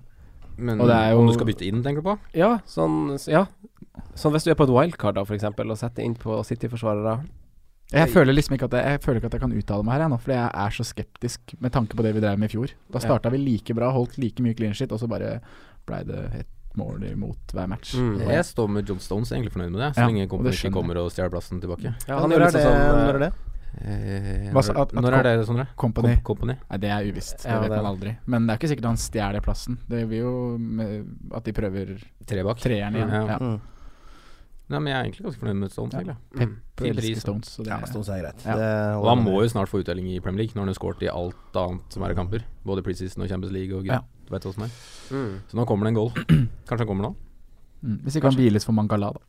S1: Men
S5: Og det er jo-
S1: om du skal bytte inn, tenker du på?
S3: Ja, sånn Ja. Sånn hvis du er på et wildcard, da, for eksempel, og setter inn på City-forsvarere.
S5: Jeg føler liksom ikke at jeg, jeg føler ikke at jeg kan uttale meg her, jeg nå, fordi jeg er så skeptisk med tanke på det vi drev med i fjor. Da starta vi like bra, holdt like mye clean shit, og så bare blei det et mål imot hver match.
S3: Mm.
S1: Jeg står med John Stones, egentlig fornøyd med det. Så
S5: Ja,
S1: lenge
S5: og
S1: Company
S5: det
S1: ikke
S5: skjønner
S1: kommer og stjeler plassen tilbake.
S3: Ja,
S4: Ja,
S3: han
S4: når,
S3: er
S4: er
S3: liksom
S4: det,
S3: sånn
S4: når er det?
S1: Eh,
S5: Hva sa-
S1: når,
S5: at- at
S1: når er det, Sondre?
S5: Company.
S1: Comp company?
S5: Nei, det er uvisst. Det
S3: Ja,
S5: vet
S3: det er
S5: man aldri. Men det er ikke sikkert han stjeler plassen. Det vil jo med at de prøver
S1: Tre bak.
S5: treeren igjen.
S1: Ja.
S5: Ja.
S4: Mm.
S1: Nei, men jeg er egentlig ganske fornøyd med Stones,
S5: Ja.
S1: egentlig.
S3: Mm.
S5: Elsker
S1: pris, da.
S5: Stones, så det,
S4: Ja, Stones er greit.
S5: Ja.
S4: Det
S1: Og
S4: holder
S1: han
S4: jeg
S1: må
S4: med.
S1: jo snart få uttelling i Premier League, når han har scoret i alt annet som er i kamper. Både preseason og Champions League og
S5: Ja.
S1: gud, du vet åssen det er.
S3: Mm.
S1: Så nå kommer det en goal. Kanskje han kommer nå?
S5: mm. Hvis ikke han hviles for Mangala, da.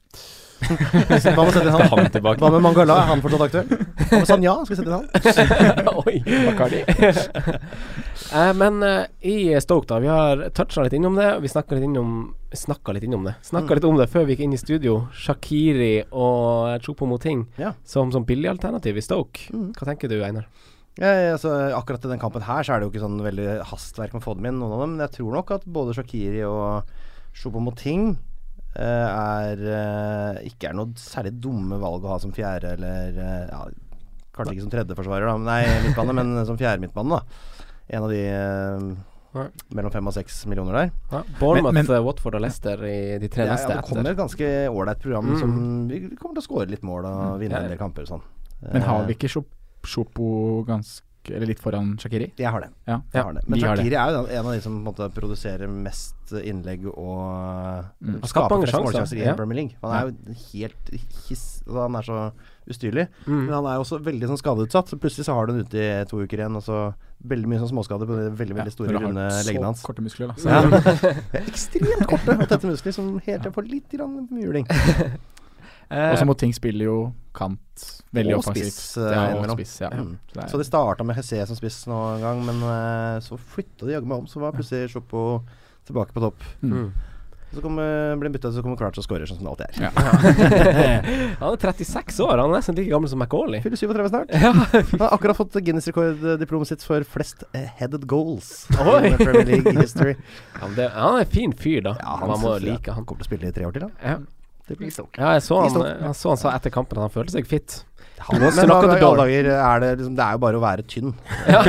S4: Hva med å sette inn
S1: Skal
S4: han?
S1: han tilbake?
S4: Hva med Mangala? Er han fortsatt aktuell? Hva med Sanja? Skal vi sette inn han?
S3: Oi, Bacardi. eh, men eh, i Stoke, da. Vi har toucha litt innom det. og Vi snakka litt innom Snakka litt innom det
S4: Mm.
S3: Snakket litt om det før vi gikk inn i studio. Shakiri og Chopo Moting
S4: Ja.
S3: som, som billig alternativ i Stoke.
S4: Mm.
S3: Hva tenker du, Einar?
S4: Ja, ja, altså, akkurat i den kampen her så er det jo ikke sånn veldig hastverk med å få dem inn, noen av dem. Men jeg tror nok at både Shakiri og Choupo-Moting er eh, ikke er noe særlig dumme valg å ha som fjerde eller eh, ja, Kanskje ikke som tredjeforsvarer, da. Nei, midtbane, men som fjerde midtbane, da. En av de eh,
S3: Ja.
S4: mellom fem og seks millioner der.
S3: Ja, Bournemouth,
S5: Men- men-
S3: eh, Watford og Leicester i de tre
S4: Ja,
S3: neste.
S4: ja, det kommer
S3: etter.
S4: et ganske ålreit program
S3: Mm.
S4: som vi vi kommer til å skåre litt mål og vinne
S3: Ja, ja.
S4: en del kamper og sånn.
S5: Men har
S4: Eh,
S5: vi ikke Chop- Chopo ganske Eller litt foran Shakiri?
S4: Jeg har det.
S5: Ja.
S4: Jeg har det. Men
S5: vi har det.
S4: Shakiri er jo den- en av de som på en måte produserer mest innlegg og
S5: Mm.
S4: mm.
S3: Skaper mange
S4: flest
S3: sjanser,
S4: målsjanser i
S3: ja.
S4: Premier League. Han er jo helt hiss altså, Han er så ustyrlig. Men
S3: Mm.
S4: han er jo også veldig sånn skadeutsatt. Så plutselig så har du den ute i to uker igjen, og så veldig mye sånn småskader på de veldig, veldig store,
S5: når du har
S4: runde
S5: så
S4: leggene hans.
S5: Korte muskler, da. Så
S4: Ja. Det er Ekstremt korte og tette muskler som hele tida får litt grann muling.
S3: Eh,
S5: Og så må ting spille jo kant veldig
S4: Og
S5: offensivt.
S4: spiss, eh,
S5: ja, og
S4: innimellom.
S5: spiss, ja.
S4: Mm.
S5: det er-
S4: Så de starta med Hesse som spiss nå en gang, men eh, så flytta de jaggu meg om. Så var plutselig Sjoppo tilbake på topp.
S3: Mm.
S4: Så kommer, blir bytta, så kommer Crouch og scorer, sånn som det alltid er.
S5: ja.
S3: Han er 36 år, han er nesten like gammel som McAuley.
S4: Fyller 37 snart.
S3: Ja.
S4: Han har akkurat fått Guinness-rekorddiplomet sitt for flest eh, headed goals
S3: Oi.
S4: i Premier League history.
S3: men det, han er en fin fyr, da.
S4: Ja, han
S3: Man må
S4: synes jeg-
S3: like han.
S4: Kommer til å spille i tre år til, da.
S3: Ja.
S4: Det blir stort.
S3: Ja, jeg så
S4: De
S3: han,
S4: står-
S3: eh, jeg så han sa etter kampen at han følte seg fit.
S4: Han,
S3: What's the
S4: men
S3: knock
S4: hva
S3: on the
S4: i alle
S3: door?
S4: dager er det liksom Det er jo bare å være tynn. Eh,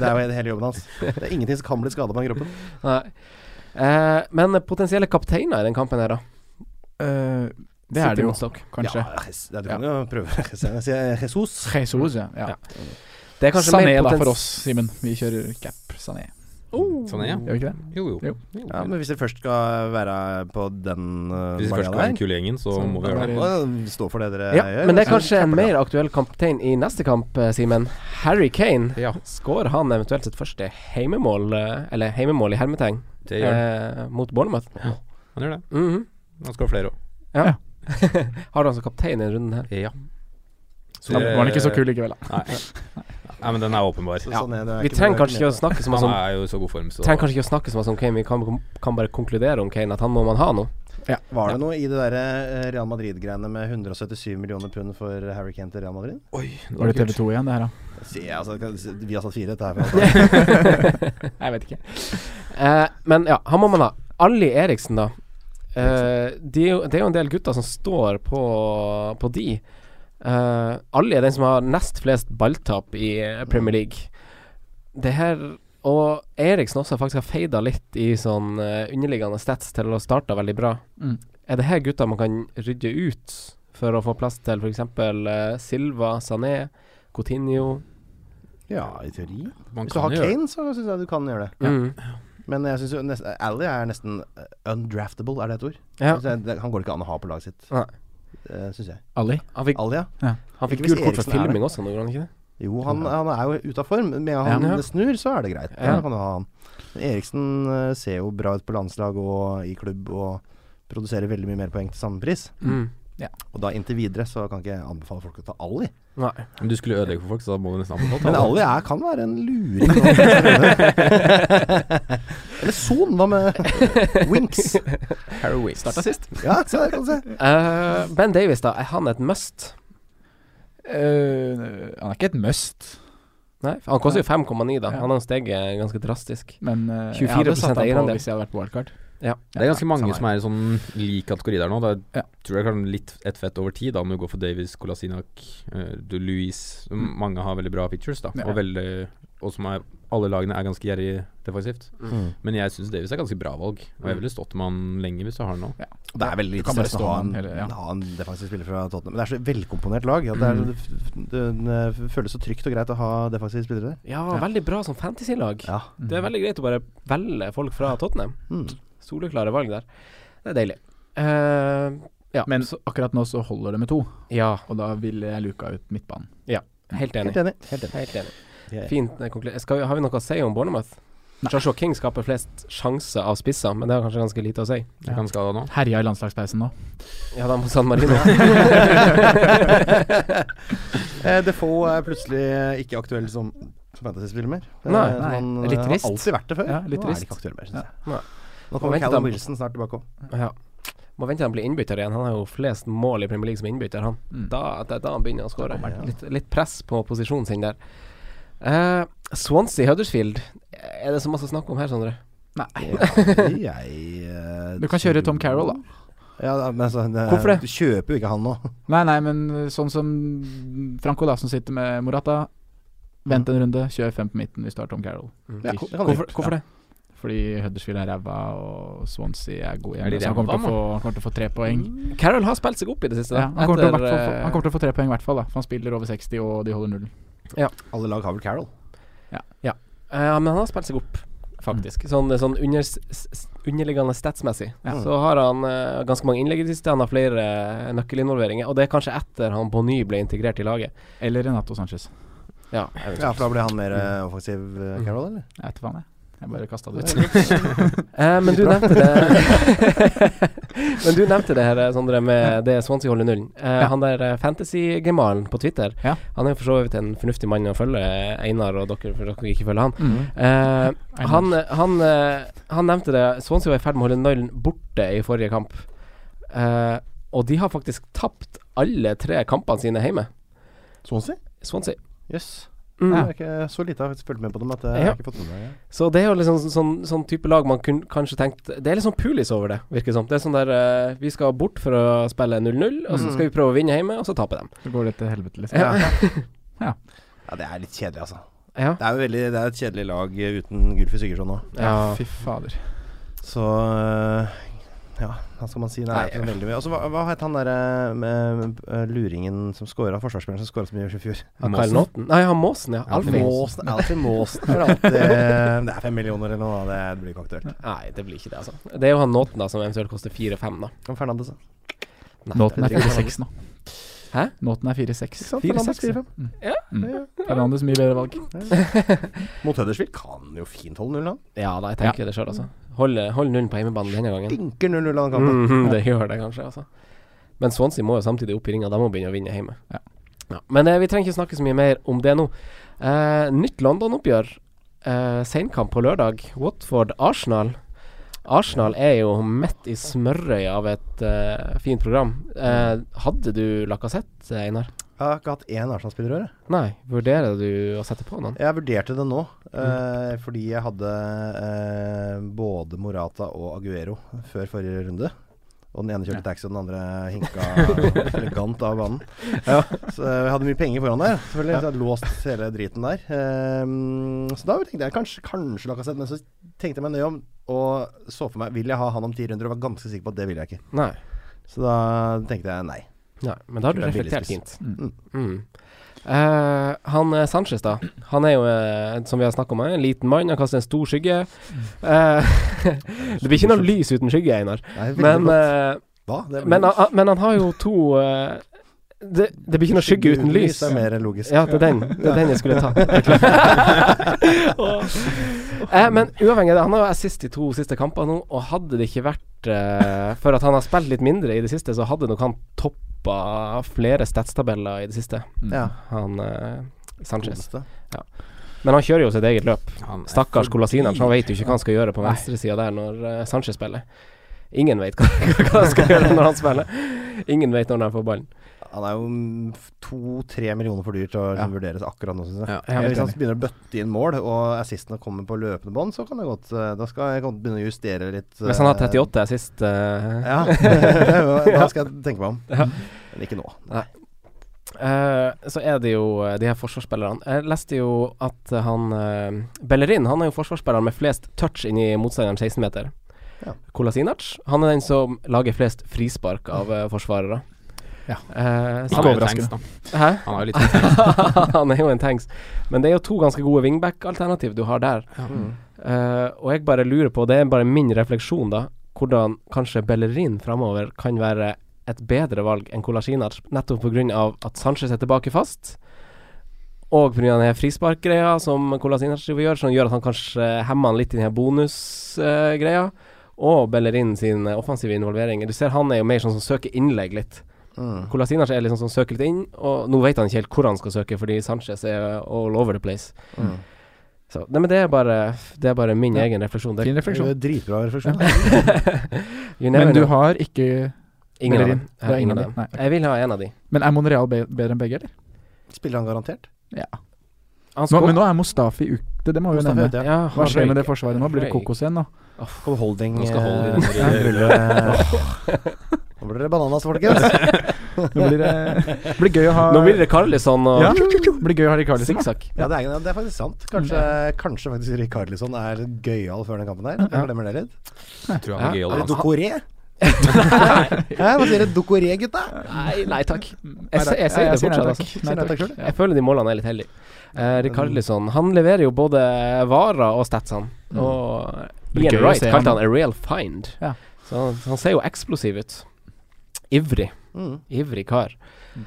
S4: det er jo hele jobben hans. Det er ingenting som kan bli skada på den kroppen.
S3: Nei. Eh, men potensielle kapteiner i den kampen her, da?
S5: Eh, det er
S3: City
S5: det jo,
S3: mot Stoke.
S5: kanskje.
S4: Ja, Jes- ja, du kan jo prøve. Jeg sier eh, Jesus.
S5: Jesus, ja. ja.
S3: Ja. Det er kanskje
S5: Sané,
S3: mer
S5: da,
S3: potens-
S5: for oss, Simen. Vi kjører cap Sané.
S3: Oh.
S1: Sånn er
S5: Gjør vi ikke det?
S1: Jo, jo.
S5: Jo.
S1: Jo.
S4: Ja, men hvis dere først skal være på den uh,
S1: Hvis vi først skal være den kule gjengen, så
S5: Sånn,
S1: må
S5: da
S1: vi gjøre det.
S5: er
S4: Og stå for det dere
S3: Ja,
S4: gjør.
S3: men det er
S4: altså.
S3: kanskje en mer aktuell kaptein i neste kamp, eh, Simen. Harry Kane.
S1: Ja,
S3: Skårer han eventuelt sitt første heimemål, eh, eller heimemål i hermetegn,
S1: det gjør han.
S3: eh, mot Bournemouth?
S1: Han gjør det.
S3: Mhm.
S1: Han skal ha flere òg.
S3: ja.
S5: Ja.
S3: Har du han som kaptein i denne runden her?
S1: Ja.
S5: Så var han ikke så kul likevel, da.
S1: eh, Nei. Nei, men den er åpenbar.
S4: Så sånn er det, det er
S3: Vi
S4: ikke
S3: trenger
S4: noe-
S3: kanskje ikke å snakke så mye
S1: Han
S3: om
S1: er jo i så god form, så
S3: Trenger kanskje ikke å snakke så mye om Kane, vi kan, kan bare konkludere om Kane at han må man ha nå.
S5: Ja.
S4: Var det noe i det der eh, Real Madrid-greiene med 177 millioner pund for eh, Harry Kane til Real Madrid?
S1: Oi,
S5: Var det TV 2 igjen, det her, da?
S4: Se, altså, vi har satt fire, dette her. for alt.
S3: jeg vet ikke. Eh, men ja, han må man ha. Ali Eriksen, da. Eh, de, er jo- det er jo en del gutter som står på, på de. Eh, Ali er den som har nest flest balltap i eh, Premier League. Det her Og Eriksen også faktisk har feida litt i sånn eh, underliggende stats til å starte veldig bra.
S5: Mm.
S3: Er det her gutter man kan rydde ut for å få plass til f.eks. Uh, Silva, Sané, Coutinho
S4: Ja, i teori.
S1: Man
S4: Hvis du
S1: kan
S4: har
S1: jo gjøre det.
S4: Kane, så syns jeg du kan gjøre det.
S3: Mm.
S4: Men jeg syns jo nest- Ally er nesten eh, undraftable, er det et ord?
S3: Ja.
S4: Så jeg- det- Han går ikke an å ha på laget sitt,
S3: Nei.
S4: uh, syns jeg.
S5: Ali?
S3: Han fikk,
S4: Ally, ja.
S3: han fikk
S4: Ikke hvis
S3: gult kort for
S4: Eriksen er
S3: filming også, nå gjorde han ikke det?
S4: Jo, han, han er jo ute av form. men Med han
S3: Ja.
S4: snur, så er det greit.
S3: Ja.
S4: Da kan du ha han. Men Eriksen eh, ser jo bra ut på landslag og i klubb og produserer veldig mye mer poeng til samme pris.
S3: Mm.
S4: Og da inntil videre så kan ikke jeg anbefale folk å ta Ali.
S3: Nei.
S1: Men du skulle ødelegge for folk, så da må du nesten anbefale
S4: Men
S1: alle.
S4: Ali er, kan være en luring. å
S3: Mm.
S4: prøve. Eller Son, hva med Winks?
S1: Harry Winks.
S5: Starta sist.
S4: Ja, se der kan du se.
S3: Eh, ben Davies, da. Er han et must?
S5: Eh, han er ikke et must,
S3: Nei, for han koster jo 5,9, da.
S5: Ja.
S3: Han har steget ganske drastisk.
S5: men eh, jeg
S3: 24%
S5: hadde satt han på
S3: eierandel.
S5: hvis jeg hadde vært wildcard.
S1: Det er ganske mange
S4: samme
S1: som er i sånn lik kategori der nå. Da
S5: Ja.
S1: tror jeg kan litt ett fett over tid, da om du går for Davies, Kolasinac, eh, du Louise
S5: Mm.
S1: Mange har veldig bra pictures, da.
S5: Ja.
S1: Og, veldig, og som er Alle lagene er ganske gjerrige defensivt.
S4: Mm.
S1: Men jeg syns Davies er ganske bra valg, og jeg ville stått med han lenge hvis du har han nå.
S4: Det er veldig
S5: Du
S4: litt
S5: kan bare
S4: stress å
S5: stå
S4: ha en,
S5: med han hele- ja.
S4: ha en defensiv spiller fra Tottenham. Men det er så velkomponert lag. At det, er, det, f- det, det føles så trygt og greit å ha defensive spillere der.
S3: Ja,
S5: Ja.
S3: veldig bra som fantasy-lag.
S4: Ja.
S3: Det er veldig greit å bare velge folk fra Tottenham.
S4: Mm.
S3: Soleklare valg der. Det er deilig. Eh, ja,
S5: Men så akkurat nå så holder det med to,
S3: ja,
S5: og da ville jeg luka ut midtbanen.
S3: helt enig.
S4: Helt enig.
S3: Helt enig. Helt enig.
S4: Jeg-
S3: Fint eh, konkludert. Skal vi, har vi noe å si om Bournemouth?
S5: Nei.
S3: Joshua King skaper flest sjanser av spisser, men det har kanskje ganske lite å si.
S1: Jeg kan skade han nå.
S5: Herja i landslagspausen nå.
S3: Ja, da må San Marino
S4: Eh, Defoe er plutselig eh, ikke aktuell som fantasy-spiller mer. Eh,
S3: Nei,
S4: som
S5: nei.
S4: han, eh,
S3: Litt trist.
S4: Har alltid vært det før.
S5: Ja, litt
S4: Nå er
S5: trist.
S4: det ikke aktuell mer,
S5: Ja.
S4: syns jeg.
S3: Nei.
S4: Nå
S3: Må
S4: kommer
S3: vente
S4: Callum
S3: dem.
S4: Wilson snart tilbake òg.
S3: Ja. Må vente til han blir innbytter igjen. Han har jo flest mål i Premier League som innbytter, han.
S5: Mm.
S3: Da, det er da han begynner å skåre.
S4: Da kommer han, ja.
S3: Litt, litt press på posisjonen sin der. Eh, Swansea Huddersfield, er det så masse å snakke om her, Sondre?
S5: Nei.
S4: Du
S5: Du kan kjøre Tom Carroll, da.
S4: eh, Ja, da, men så, det,
S3: Hvorfor det?
S4: Du kjøper jo ikke han nå.
S5: Nei, nei, men eh, sånn som Franco, da, som sitter med Morata. Vent en runde, kjør fem på midten hvis du har Tom Carroll.
S4: Ja, det kan du
S3: Hvorfor,
S4: gjøre.
S3: hvorfor det?
S5: Fordi Huddersfield er ræva, og Swansea er gode
S1: Er de
S5: igjen. Så han
S1: ræva,
S5: kommer, til å få, han kommer til å få tre poeng.
S3: Carroll har spilt seg opp i det siste.
S5: Mm. Ja,
S3: Da.
S5: han, kommer til å,
S3: Etter,
S5: hvert fall få,
S3: eh,
S5: han kommer til å få tre poeng, i hvert fall. da For han spiller over 60, og de holder nullen.
S4: Alle lag har vel Carroll.
S3: eh, men han har spilt seg opp, faktisk. Sånn, sånn under, s- s- underliggende statsmessig.
S5: Mm. Ja.
S3: Så har han eh, ganske mange innlegg i det siste. Han har flere eh, nøkkelinvolveringer. Og det er kanskje etter han på ny ble integrert i laget.
S5: Eller Renato Sanchez.
S3: Ja,
S4: Ja, for da blir han mer eh, offensiv, eh, Carroll, eller?
S5: Jeg vet ikke faen, jeg. Jeg bare kasta det ut.
S3: Eh, men du nevnte det Men du nevnte det her, Sondre, med det Swansea holder nullen. Eh,
S5: Ja.
S3: Han der eh, fantasy-gemalen på Twitter,
S5: Ja.
S3: han er jo for så vidt en fornuftig mann å følge, Einar og dere, for dere ikke følger han.
S5: Mm.
S3: Eh,
S5: Einar.
S3: han, han, eh, han nevnte det. Swansea var i ferd med å holde nullen borte i forrige kamp. Eh, og de har faktisk tapt alle tre kampene sine hjemme.
S4: Swansea?
S3: Swansea.
S4: Jøs.
S3: Mm.
S4: Jeg har ikke så lite jeg har faktisk fulgt med på dem at eh, jeg
S3: Ja.
S4: har ikke fått med meg det.
S3: Så det er jo liksom sånn, sånn, sånn type lag man kun, kanskje tenkt Det er litt sånn pulis over det, virker det som. Det er sånn der eh, Vi skal bort for å spille 0-0, og så skal vi prøve å vinne hjemme, og så tape dem.
S5: Så går det til helvete, liksom.
S3: Ja.
S4: Ja, det er litt kjedelig, altså.
S3: Ja.
S4: Det er jo veldig Det er et kjedelig lag eh, uten Gulfi Sigurdsson nå.
S3: Ja.
S5: Fy fader.
S4: Så øh, ja, hva skal man si? Nei, det er veldig mye. Altså, hva, hva het han derre med øh, luringen som scora, forsvarsspilleren som scora så mye i fjor?
S3: Han Kyle Naughton Nei, han Måsen, ja. Alfie.
S4: Måsen. Alfie Måsen er alltid Det er fem millioner eller noe, det blir ikke aktuelt.
S3: Nei, det blir ikke det, altså. Det er jo han Naughton da, som eventuelt koster 4-5, da.
S4: Og Fernandes, da.
S3: Nei,
S5: Nåten er
S3: det er ikke-
S5: 4-6 nå.
S3: Hæ?
S5: Nåten er
S4: Ikke
S5: 4-6.
S4: sant? Fernandes 4-5.
S5: Fernandes mye bedre valg.
S4: Mot Huddersfield kan jo fint holde 0 han.
S3: Ja da, jeg tenker det sjøl, altså. Hold, hold nullen på hjemmebanen denne gangen.
S4: Dinker 0-0 han kampen.
S3: Mhm, det gjør det kanskje, altså. Men Swansea må jo samtidig opp i ringa. De må begynne å vinne hjemme.
S5: Ja.
S3: Ja. Men eh, vi trenger ikke snakke så mye mer om det nå. Eh, nytt London-oppgjør. Eh, Seinkamp på lørdag. Watford-Arsenal. Arsenal er jo midt i smørøyet av et eh, fint program. Eh, hadde du Lacassette, Einar?
S4: Jeg har ikke hatt én Arsenal-spiller i år. jeg.
S3: Nei. Vurderer du å sette på noen?
S4: Jeg vurderte det nå,
S3: Mm.
S4: eh, fordi jeg hadde eh, både Morata og Aguero før forrige runde. Og den ene kjørte taxi, og den andre hinka elegant av banen. Så jeg hadde mye penger foran der, selvfølgelig. Så jeg hadde låst hele driten der. Eh, så da tenkte jeg kanskje, kanskje Lacassette, men så tenkte jeg meg nøye om og så for meg Vil jeg ha han om ti runder, og var ganske sikker på at det vil jeg ikke.
S3: Nei.
S4: Så da tenkte jeg nei.
S3: Nei. Men da har du
S4: Det er
S3: reflektert
S4: billigspiss.
S3: fint.
S5: Mm.
S3: Mm. Eh, han eh, Sanchez, da. Han er jo, eh, som vi har snakka om, her, en liten mann. Han kaster en stor skygge. Eh, det blir ikke noe lys uten skygge, Einar.
S4: Nei, veldig
S3: Men,
S4: godt.
S3: eh,
S4: Hva? Det
S3: men, han- han- men han har jo to eh, det, det blir ikke noe skygge uten lys.
S4: Det er mer logisk.
S3: Ja, det er den, det er den jeg skulle ta. eh, men uavhengig av det, han har jo assist i to siste kamper nå, og hadde det ikke vært eh, for at han har spilt litt mindre i det siste, så hadde nok han toppa flere statstabeller i det siste,
S5: Mm.
S4: Ja.
S3: han eh, Sanchez.
S4: Godeste.
S3: Men han kjører jo sitt eget løp.
S1: Han er
S3: Stakkars
S1: forbi.
S3: Kolasinac, han vet jo ikke hva han skal gjøre på venstresida der når eh, Sanchez spiller. Ingen vet hva, hva han skal gjøre når han spiller. Ingen vet når han får ballen.
S4: Han er jo to-tre millioner for dyr til å liksom vurderes akkurat nå, syns jeg.
S1: Ja.
S3: Ja,
S4: Men
S5: helt
S4: Hvis han
S5: enig.
S4: begynner å bøtte inn mål, og assistene kommer på løpende bånd, så kan det godt eh, Da skal jeg godt begynne å justere litt.
S3: Hvis han har
S4: eh,
S3: 38 sist eh,
S4: Ja, da skal jeg tenke meg om. Men ikke nå.
S3: Eh, så er det jo eh, de her forsvarsspillerne. Jeg leste jo at eh, han eh, Bellerin han er jo forsvarsspilleren med flest touch inn i motstanderen 16-meter.
S4: Ja.
S3: Kolasinac han er den som lager flest frispark av eh, forsvarere.
S5: Ja.
S3: Eh,
S1: Han er jo
S5: overraskende.
S1: tanks, da.
S3: så- Hæ?
S1: Han er jo litt tanks.
S3: han er jo en tanks. Men det er jo to ganske gode wingback-alternativ du har der. Eh, og jeg bare lurer på, det er bare min refleksjon da, hvordan kanskje Bellerin framover kan være et bedre valg enn Kolasinac, nettopp pga. at Sanchez er tilbake fast. Og pga. den her frisparkgreia som Kolasinac driver og gjør, som gjør at han kanskje hemmer han litt i den her bonusgreia. og Bellerin sin offensive involvering. Du ser han er jo mer sånn som søker innlegg litt.
S4: Mm.
S3: Kolasinac er liksom sånn søker litt inn, og nå vet han ikke helt hvor han skal søke, fordi Sanchez er all over the place.
S4: Mm.
S3: Så, nei, men det er bare, det er bare min
S5: Ja.
S3: egen refleksjon. Det,
S5: Fin
S4: Det
S5: refleksjon.
S4: er Dritbra refleksjon.
S3: you never
S5: Men du
S3: know.
S5: har ikke
S3: ingen av
S5: Bellerin.
S3: dem.
S5: Det er ingen av
S3: dem.
S5: de. Nei, ok.
S3: Jeg vil ha en av de.
S5: Men er Monreal be bedre enn begge, eller?
S4: Spiller han garantert?
S5: Ja.
S3: Han
S5: Nå,
S3: skår-
S5: men nå er Mustafi ute, det må vi jo
S4: Mustafi
S5: nevne.
S4: ute, ja.
S3: ja,
S5: Hva
S3: han
S5: skjer med det
S3: røyker.
S5: forsvaret nå? Blir det
S3: Røyk.
S5: kokos igjen nå?
S4: Kom holding
S1: Nå skal holding
S4: eh,
S1: ned i
S4: rulle. Nå blir det bananas, folkens.
S5: Nå blir det blir gøy å ha
S3: Nå blir det Carlisson og
S5: ja, blir gøy å ha Ricardo.
S3: sikksakk.
S4: Ja, det er, det er faktisk sant. Kanskje, kanskje faktisk Rikarlisson er gøyal før den kampen her. Jeg glemmer det litt.
S1: Jeg tror han er
S3: Ja.
S1: gøyal,
S4: Er det
S1: altså.
S4: Dokoré? Hæ, hva sier du? Dokoré, gutta?
S3: Nei, nei takk.
S5: Nei,
S3: Jeg, se- jeg sier det fortsatt, altså.
S5: Nei,
S4: Sier nei
S5: takk.
S4: takk selv.
S5: Ja.
S3: Jeg føler de målene er litt heldige. Eh, Rikarlisson han leverer jo både varer og statsene. Og
S5: Blir gøy
S3: Ian
S5: å
S3: Wright
S5: se
S3: kalte
S5: han.
S3: han a real find.
S5: Ja.
S3: Så han, han ser jo eksplosiv ut. Ivrig.
S4: Mm.
S3: Ivrig kar.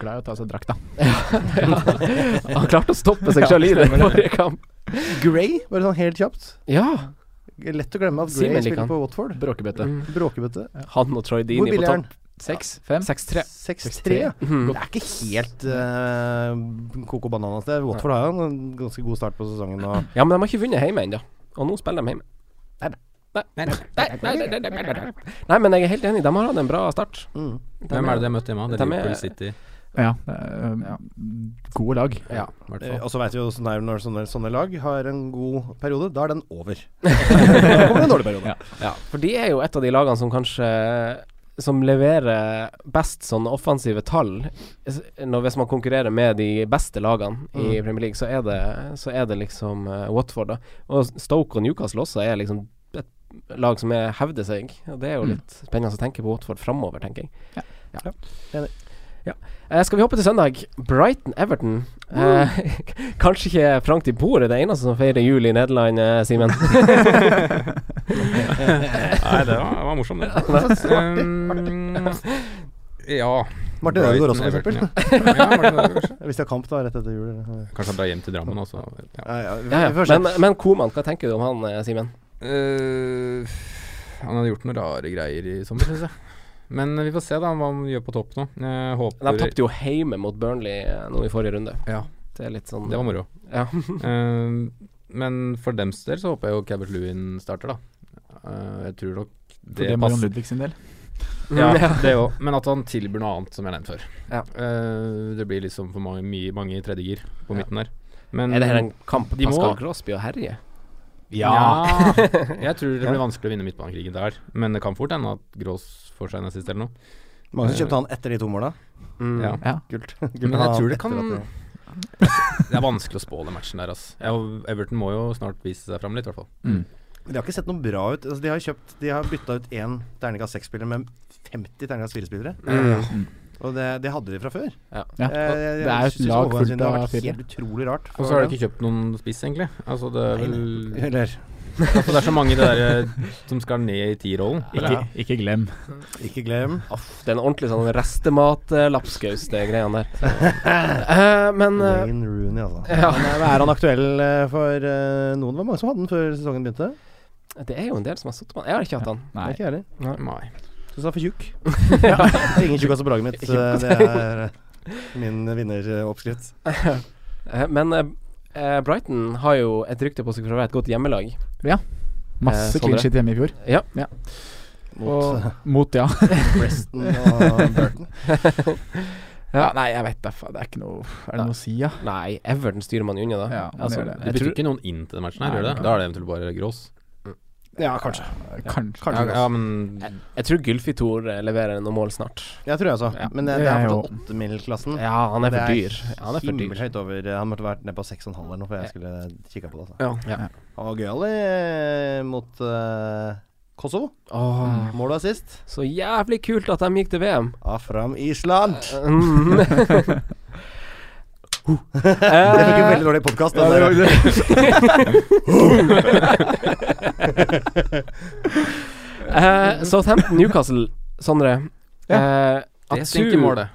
S5: Glad i å ta seg drakta.
S3: han klarte å stoppe seg
S5: Ja,
S3: sjøl i den
S5: stemmer det.
S3: forrige kamp.
S4: Gray, bare sånn helt kjapt.
S3: Ja.
S4: Lett å glemme at Gray
S3: Simen liker
S4: spiller
S3: han.
S4: på Watford.
S5: Bråkebøtte.
S3: Mm.
S4: Bråkebøtte.
S3: Han og Troy
S4: Hvor
S3: Dini på
S4: billig er
S3: topp.
S4: den?
S3: Seks?
S5: Fem? Mm.
S3: Seks-tre.
S4: 6-3. ja.
S3: Mhm.
S4: Det er ikke helt uh, koko bananas, det. Watford har jo en ganske god start på sesongen. Og
S3: Ja, men de har ikke vunnet hjemme ennå. Og nå spiller de hjemme.
S4: Nei,
S3: Nei, nei, nei, nei, nei, nei, nei, nei. Nei, men jeg er helt enig. De har hatt en bra start.
S4: mm.
S3: De
S1: Hvem er det de har møtt hjemme? Det
S3: De
S1: er
S3: er-
S1: Liverpool City.
S5: Ja. det er, um, Gode lag.
S3: Ja.
S1: i hvert
S4: Eh,
S1: fall.
S4: Og så veit vi jo sånn er det når sånne, sånne lag har en god periode, da er den over. Da kommer det en dårlig periode.
S3: Ja, for de er jo et av de lagene som kanskje som leverer best sånn offensive tall. S- Når, hvis man konkurrerer med de beste lagene i Premier League, så er det, så er det liksom eh, Watford. da Og Stoke og Newcastle også er liksom et lag som er, hevder seg. Og Det er jo
S5: Mm.
S3: litt spennende å tenke på Watford framover, tenker jeg. Ja.
S4: Enig.
S3: Ja. Eh, skal vi hoppe til søndag? Brighton-Everton. Eh, kanskje ikke Frank de Boer er det eneste som feirer jul i Nederland, eh, Simen.
S1: Nei, det var, det var morsomt, det. Um, ja.
S4: Martin Ødegaard også, for
S1: Brighton,
S4: eksempel.
S1: Everton, Ja. Ja, Martin Ødegaard, kanskje.
S4: Hvis de har kamp da, rett etter jul. Ja,
S1: Kanskje han drar hjem til Drammen også. Ja.
S4: ja, vi,
S3: Ja,
S4: vi får
S3: ja.
S4: se.
S3: Men, men Koman, hva tenker du om han, eh, Simen?
S1: Eh, han hadde gjort noen rare greier i sommer, syns jeg. Men vi får se da hva han gjør på topp nå. Jeg håper
S3: De tapte jo hjemme mot Burnley eh, nå i forrige runde.
S1: Ja.
S3: Det er litt sånn
S1: Det var moro. Ehm,
S3: Ja.
S1: Eh, men for dems del så håper jeg jo Cabert Lewin starter, da. Eh, jeg tror nok
S5: For
S1: det,
S5: det må Jon
S1: passer.
S5: Ludvig sin del.
S1: Ja,
S3: Ja.
S1: det òg. Men at han tilbyr noe annet, som jeg nevnte før.
S3: Ja.
S1: Eh, det blir liksom for mange, mye, mange i tredje gir på
S3: Ja.
S1: midten der. Men
S3: Er det her en kamp
S1: De må-
S3: Pascal Grosby og herje?
S1: Ja. jeg tror det blir vanskelig å vinne midtbanekrigen der. Men det kan fort hende at Grås får seg en assist eller noe.
S4: Mange som kjøpte han etter de to måla.
S3: Mm.
S1: Ja.
S5: Ja.
S4: Kult.
S1: Men jeg tror det kan
S4: Etter at
S1: Det er vanskelig å spå den matchen der, ass. Ja, og Everton må jo snart vise seg fram litt, i hvert fall.
S5: Mm.
S4: De har ikke sett noe bra ut. Altså, de har kjøpt De har bytta ut én terningkast seks-spiller med 50 terningkast fire-spillere.
S3: Mm.
S4: Og det, det hadde de fra før.
S5: Ja.
S4: Eh, jeg-
S5: Det er
S4: jeg
S5: jo et
S4: synes
S5: lag
S4: overgangen
S5: fullt
S4: har
S5: av
S4: vært
S5: firere.
S4: helt utrolig rart.
S1: Og så har de ikke kjøpt noen spiss, egentlig. Altså, det er vel
S4: Eller
S1: altså, Det er så mange det der eh, som skal ned i T-rollen.
S5: Ikke, ikke glem.
S4: Ikke glem.
S3: Aff, det er en ordentlig sånn restemat-lapskaus, det greiene der. Eh, men eh,
S4: Wayne Rooney, altså.
S3: Ja.
S4: Men, eh, er han aktuell eh, for eh, noen? Det var mange som hadde den før sesongen begynte.
S3: det er jo en del som har sittet på den. Jeg har ikke hatt den.
S5: Nei.
S4: Ikke jeg heller.
S1: Nei.
S4: Syns han er for tjukk. Det er Ingen tjukkas på laget mitt. så Det er eh, min vinneroppskrift.
S3: Eh, men eh, eh, Brighton har jo et rykte på seg for å være et godt hjemmelag. Eh,
S5: Masse
S3: Sondre?
S5: clean shit hjemme i fjor.
S4: Mot eh,
S5: Mot, ja.
S4: Preston og Burton.
S5: ja. Nei, jeg vet da faen. Det er ikke noe Er det noe å si, ja?
S3: Nei, Everton styrer man unna, da.
S5: Ja, man
S3: altså,
S5: gjør det.
S1: Du
S5: Jeg
S1: bytter
S5: tror-
S1: ikke noen inn til den matchen her,
S5: Nei,
S1: gjør du det?
S5: nei.
S1: Da er det eventuelt bare Grås.
S4: Ja, kanskje.
S5: Kanskje.
S1: Ja,
S4: Kanskje
S1: ja,
S4: Gross.
S1: men
S3: Jeg tror Gylfi Thor eh, leverer noen mål snart.
S4: Jeg tror jeg også.
S5: Ja.
S4: Men eh,
S5: Det
S4: det er
S5: er jo-
S4: fortsatt åttemilklassen.
S3: Ja, han er
S4: Det
S3: for
S4: er
S3: dyr. Ja, han er for dyr.
S4: Himmelhøyt over. eh, Han måtte vært nede på 6,5 eller noe, for jeg skulle kikka på det. Altså.
S3: Ja.
S4: Han var gøyal eh, mot eh, Kosovo.
S5: Mm.
S3: Åh,
S4: Målet sist.
S3: så jævlig kult at de gikk til VM.
S4: Afram Island.
S3: Mm.
S4: Det
S3: Eh,
S4: fikk en veldig dårlig podkast.
S3: eh, Southampton Newcastle, Sondre. Eh,
S1: det stinker
S3: Atsu,
S1: målet.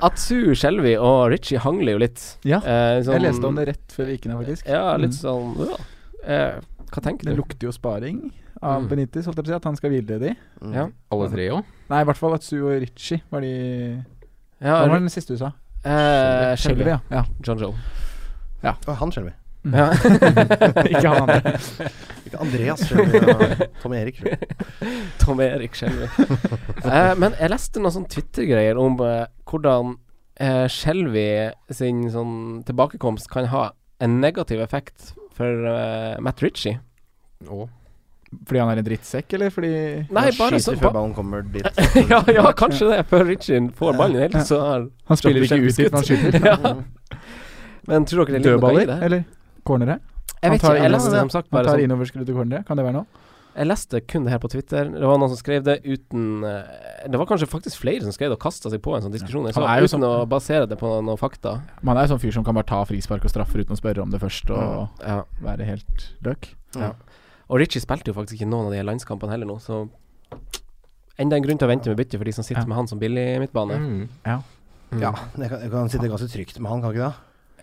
S3: Atsu Skjelvi og Richie hangler jo litt.
S5: Ja.
S3: Eh, sånn-
S5: Jeg leste om det rett før vi gikk ned, faktisk.
S3: Ja, litt
S5: Mm.
S3: sånn ja. eh, Hva tenker
S5: Det
S3: du?
S5: lukter jo sparing av
S3: Mm.
S5: Benitez, holdt jeg på å si. At han skal hvile de.
S4: Mm.
S3: Ja.
S1: Alle tre òg?
S5: Nei, i hvert fall Atsu og Ritchie var de
S3: Ja,
S5: Han var den siste du sa.
S3: eh,
S5: Skjelvi,
S3: Skjelvi.
S5: ja. ja. Mm.
S3: John Joe.
S4: Og han skjelver.
S3: Ja.
S5: Ikke han andre.
S4: Ikke Andreas skjelver. Tom eh, Erik. skjelver.
S3: Tom Erik Skjelvi. eh, men jeg leste noen sånne Twitter-greier om eh, hvordan eh, Skjelvi sin sånn tilbakekomst kan ha en negativ effekt for eh, Matt Ritchie.
S1: Å.
S5: Fordi han er en drittsekk, eller fordi
S3: Nei,
S4: Han
S3: bare
S4: skyter
S3: sånn
S4: før
S3: ba
S4: ballen kommer dit.
S3: ja, ja, kanskje det, før Ritchie får ballen i det hele tatt, så har
S5: Han spiller ikke ut dit når han skyter.
S3: ja.
S4: Mm.
S3: Men tror dere det ligger noe i
S5: Dødballer,
S3: det?
S5: eller cornere.
S3: Jeg
S5: Han
S3: vet
S5: tar
S3: ikke, jeg
S5: inn-
S3: leste som sagt
S5: Han
S3: bare
S5: tar
S3: sånn
S5: innoverskrudde cornere. Kan det være noe?
S3: Jeg leste kun det her på Twitter. Det var noen som skrev det uten eh, Det var kanskje faktisk flere som skrev det og kasta seg på en sånn diskusjon. Jeg
S5: Han
S3: så,
S5: er jo
S3: uten
S5: sånn-
S3: å basere det på noen fakta.
S5: Man er jo sånn fyr som kan bare ta frispark og straffer uten å spørre om det først, og
S3: Ja.
S5: være helt løk.
S3: Og Ritchie spilte jo faktisk ikke noen av de her landskampene heller nå, så Enda en grunn til å vente med bytte for de som sitter
S5: Ja.
S3: med han som billig i midtbane.
S1: Mm.
S4: Ja, jeg kan, jeg kan sitte ganske trygt med han, kan ikke det?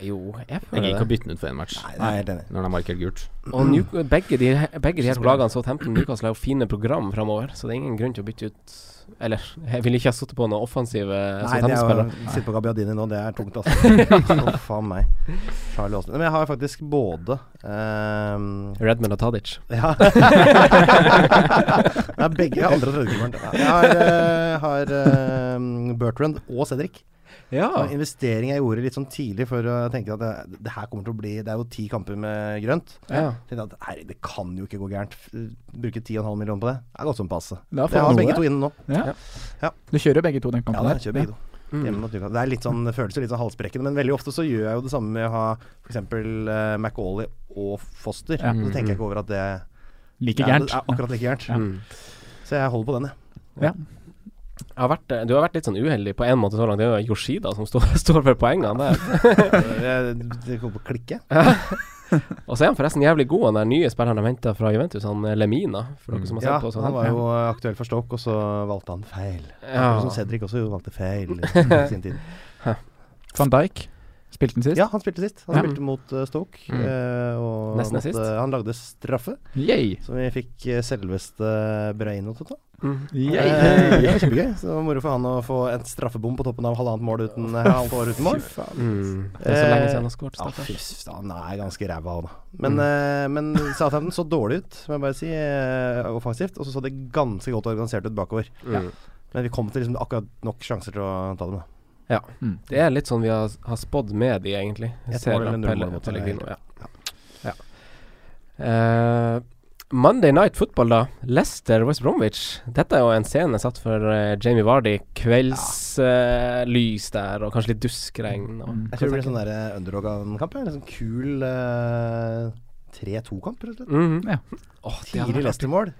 S3: Jo, jeg
S1: Jeg gidder
S3: føler
S1: ikke å
S3: det.
S1: bytte den ut for én match
S4: Nei, det er jeg helt enig. i.
S1: når den er markert gult.
S3: Og New, begge, de, begge de her lagene, Southampton og Newcastle, har jo fine program framover, så det er ingen grunn til å bytte ut Eller, jeg ville ikke ha sittet på noen offensive altså,
S4: Nei, det er jo
S3: Southampton-spillere.
S4: Sitte på Gabbiadini nå, det er tungt, altså. Å, faen meg. Charlie Aasen. Men jeg har faktisk både ehm,
S3: Redmond og Tadic.
S4: Ja. Det er begge andre- og tredjekrimmeren. Jeg har, eh, har eh, Bertrand og Cedric.
S3: Ja.
S4: Og investering jeg gjorde litt sånn tidlig for å tenke at det, det her kommer til å bli Det er jo ti kamper med grønt.
S3: ja.
S4: Tenkte at nei, det kan jo ikke gå gærent. F- Bruke 10,5 millioner på det. Det er godt som passe.
S5: Da får
S4: Jeg
S5: man
S4: har
S5: noe.
S4: begge to inne nå.
S5: Ja.
S4: Ja.
S5: Du kjører jo begge to den
S4: Ja,
S5: kampen
S4: da,
S5: der.
S4: kjøper begge to.
S3: Mm.
S4: Hjemme mot Newcastle. Det er litt sånn det føles jo litt sånn halsbrekkende, men veldig ofte så gjør jeg jo det samme med å ha f.eks. Uh, MacAulay og Foster.
S5: Ja.
S4: Så tenker jeg ikke over at det
S5: Like
S4: Ja,
S5: gærent.
S4: det er akkurat like gærent.
S3: Mm.
S4: Så jeg holder på den, jeg.
S3: Jeg har vært, du har vært litt sånn uheldig på én måte så langt. Det er jo Yoshida som står, står for poengene der.
S4: Jeg- Det kommer på å klikke.
S3: Og så er han forresten jævlig god, han der nye spilleren de henta fra Juventus, han eh, Lemina. For dere som har sett
S4: Ja,
S3: på sånn.
S4: han var jo eh, aktuell for Stoke, og så valgte han feil. Akkurat Som
S3: ja.
S4: Cedric også valgte feil i sin tid.
S5: Van Dijk. Spilte den sist?
S4: Ja, han spilte sist. Han
S3: Ja.
S4: spilte mot eh, Stoke.
S1: Mm.
S4: eh, og
S3: Nesten
S4: måtte,
S3: assist.
S4: han lagde straffe,
S5: Yay.
S4: som vi fikk eh, selveste Breino til å ta.
S3: Mm.
S4: Eh, det var kjempegøy. Så det var moro for han å få en straffebom på toppen av halvannet mål uten eh, halvannet år uten mål.
S3: Mm. Det er så lenge siden han har skåret.
S4: Ja,
S3: stakkars.
S4: fy s- han er ganske ræva, han. Men, eh, men Southampton så dårlig ut, må jeg bare si, eh, offensivt. Og så så det ganske godt organisert ut bakover.
S3: Mm.
S4: Men vi kom til liksom akkurat nok sjanser til å ta dem, da.
S5: Mm.
S3: Det er litt sånn vi har, har spådd med de, egentlig.
S4: Et
S3: Ser
S4: mål eller
S3: opp
S4: null
S3: Pelle-
S4: mål mot
S3: Pellegrino,
S4: Leicester.
S3: ja. ja. Eh, Monday Night Football, da. Leicester West Bromwich. Dette er jo en scene satt for eh, Jamie Vardy. Kveldslys der, og kanskje litt duskregn. Og,
S5: Mm.
S4: Jeg tror det blir sånn der eh, underdog av en kamp. ja. En sånn kul eh, 3-2-kamp, rett og slett.
S3: Mhm.
S5: Ja.
S3: Åh, det hadde
S4: Fire
S3: vært
S4: Leicester-mål.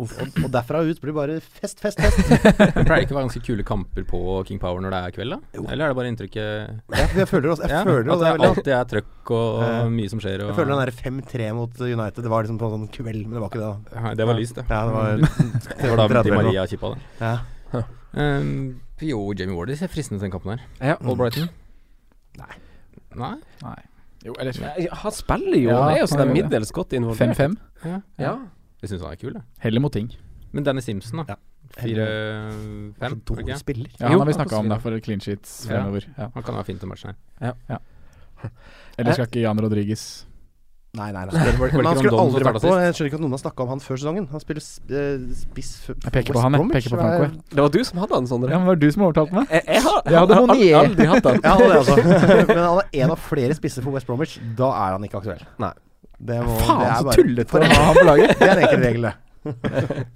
S4: Og, og derfra ut blir det bare fest, fest, fest.
S1: Det pleier ikke å være ganske kule kamper på King Power når det er kveld, da?
S4: Jo.
S1: Eller er det bare inntrykket
S4: Jeg, jeg føler også, jeg
S1: at
S4: føler, og det
S1: det
S4: er veldig,
S1: alltid er trøkk og,
S4: Ja.
S1: og mye som skjer. Og,
S4: jeg føler den der 5-3 mot United, det var liksom på en sånn kveld, men det var ikke det. da.
S1: Nei, det var lyst, det.
S4: Ja, det var,
S1: Det
S5: Mm.
S1: var da
S4: 30
S1: Di
S4: eller noe.
S1: Maria kippa det.
S4: Ja.
S1: Um, jo, Jamie Wardy ser fristende ut den kampen her.
S3: Ja.
S1: All Brighton.
S4: Mm. Nei.
S1: Nei?
S5: Nei. Jo, eller
S3: Nei, han spiller jo,
S5: Ja,
S3: han er jo
S5: han
S3: sånn
S5: gjør det.
S3: middels godt involvert.
S5: 5-5.
S1: Ja.
S3: Ja.
S1: Jeg syns han er kul, det.
S5: Heller mot ting.
S1: Men Danny Simpson,
S4: Ja.
S1: da. Fire-fem,
S4: Så
S1: var det
S4: dårlig
S1: ikke?
S4: spiller.
S3: Jo,
S5: Ja, han har vi
S3: han
S5: snakka om
S3: forsvinner.
S5: da for clean sheets
S1: Ja.
S5: fremover. Ja.
S1: Han kan være fin til matchen her.
S5: Eller skal ikke Jan Rodriguez
S4: Nei, nei, nei.
S1: Var det ikke
S4: Men han
S1: Rondon
S4: skulle
S1: som
S4: aldri vært
S1: startet
S4: på.
S1: sist?
S4: Jeg skjønner ikke at noen har snakka om han før sesongen. Han spiller sp- eh, spiss f-
S5: Jeg peker på
S4: West
S5: han, jeg.
S4: Bromwich,
S5: Peker på
S4: hva er-
S5: Franco,
S3: Det var du som hadde han, Sondre.
S5: Ja, men Var det du som overtalte meg?
S3: Jeg, jeg har,
S5: Jeg hadde
S3: har aldri,
S5: Monier.
S3: aldri hatt han.
S4: Ja, han er altså. Men han er en av flere spisser for West Bromwich. Da er han ikke aktuell.
S3: Nei.
S4: Det må, det
S5: Faen,
S4: er
S5: så
S4: bare-
S5: tullete
S4: for
S5: å
S4: en-
S5: ha ham på laget!
S4: Det er en enkel regel, det.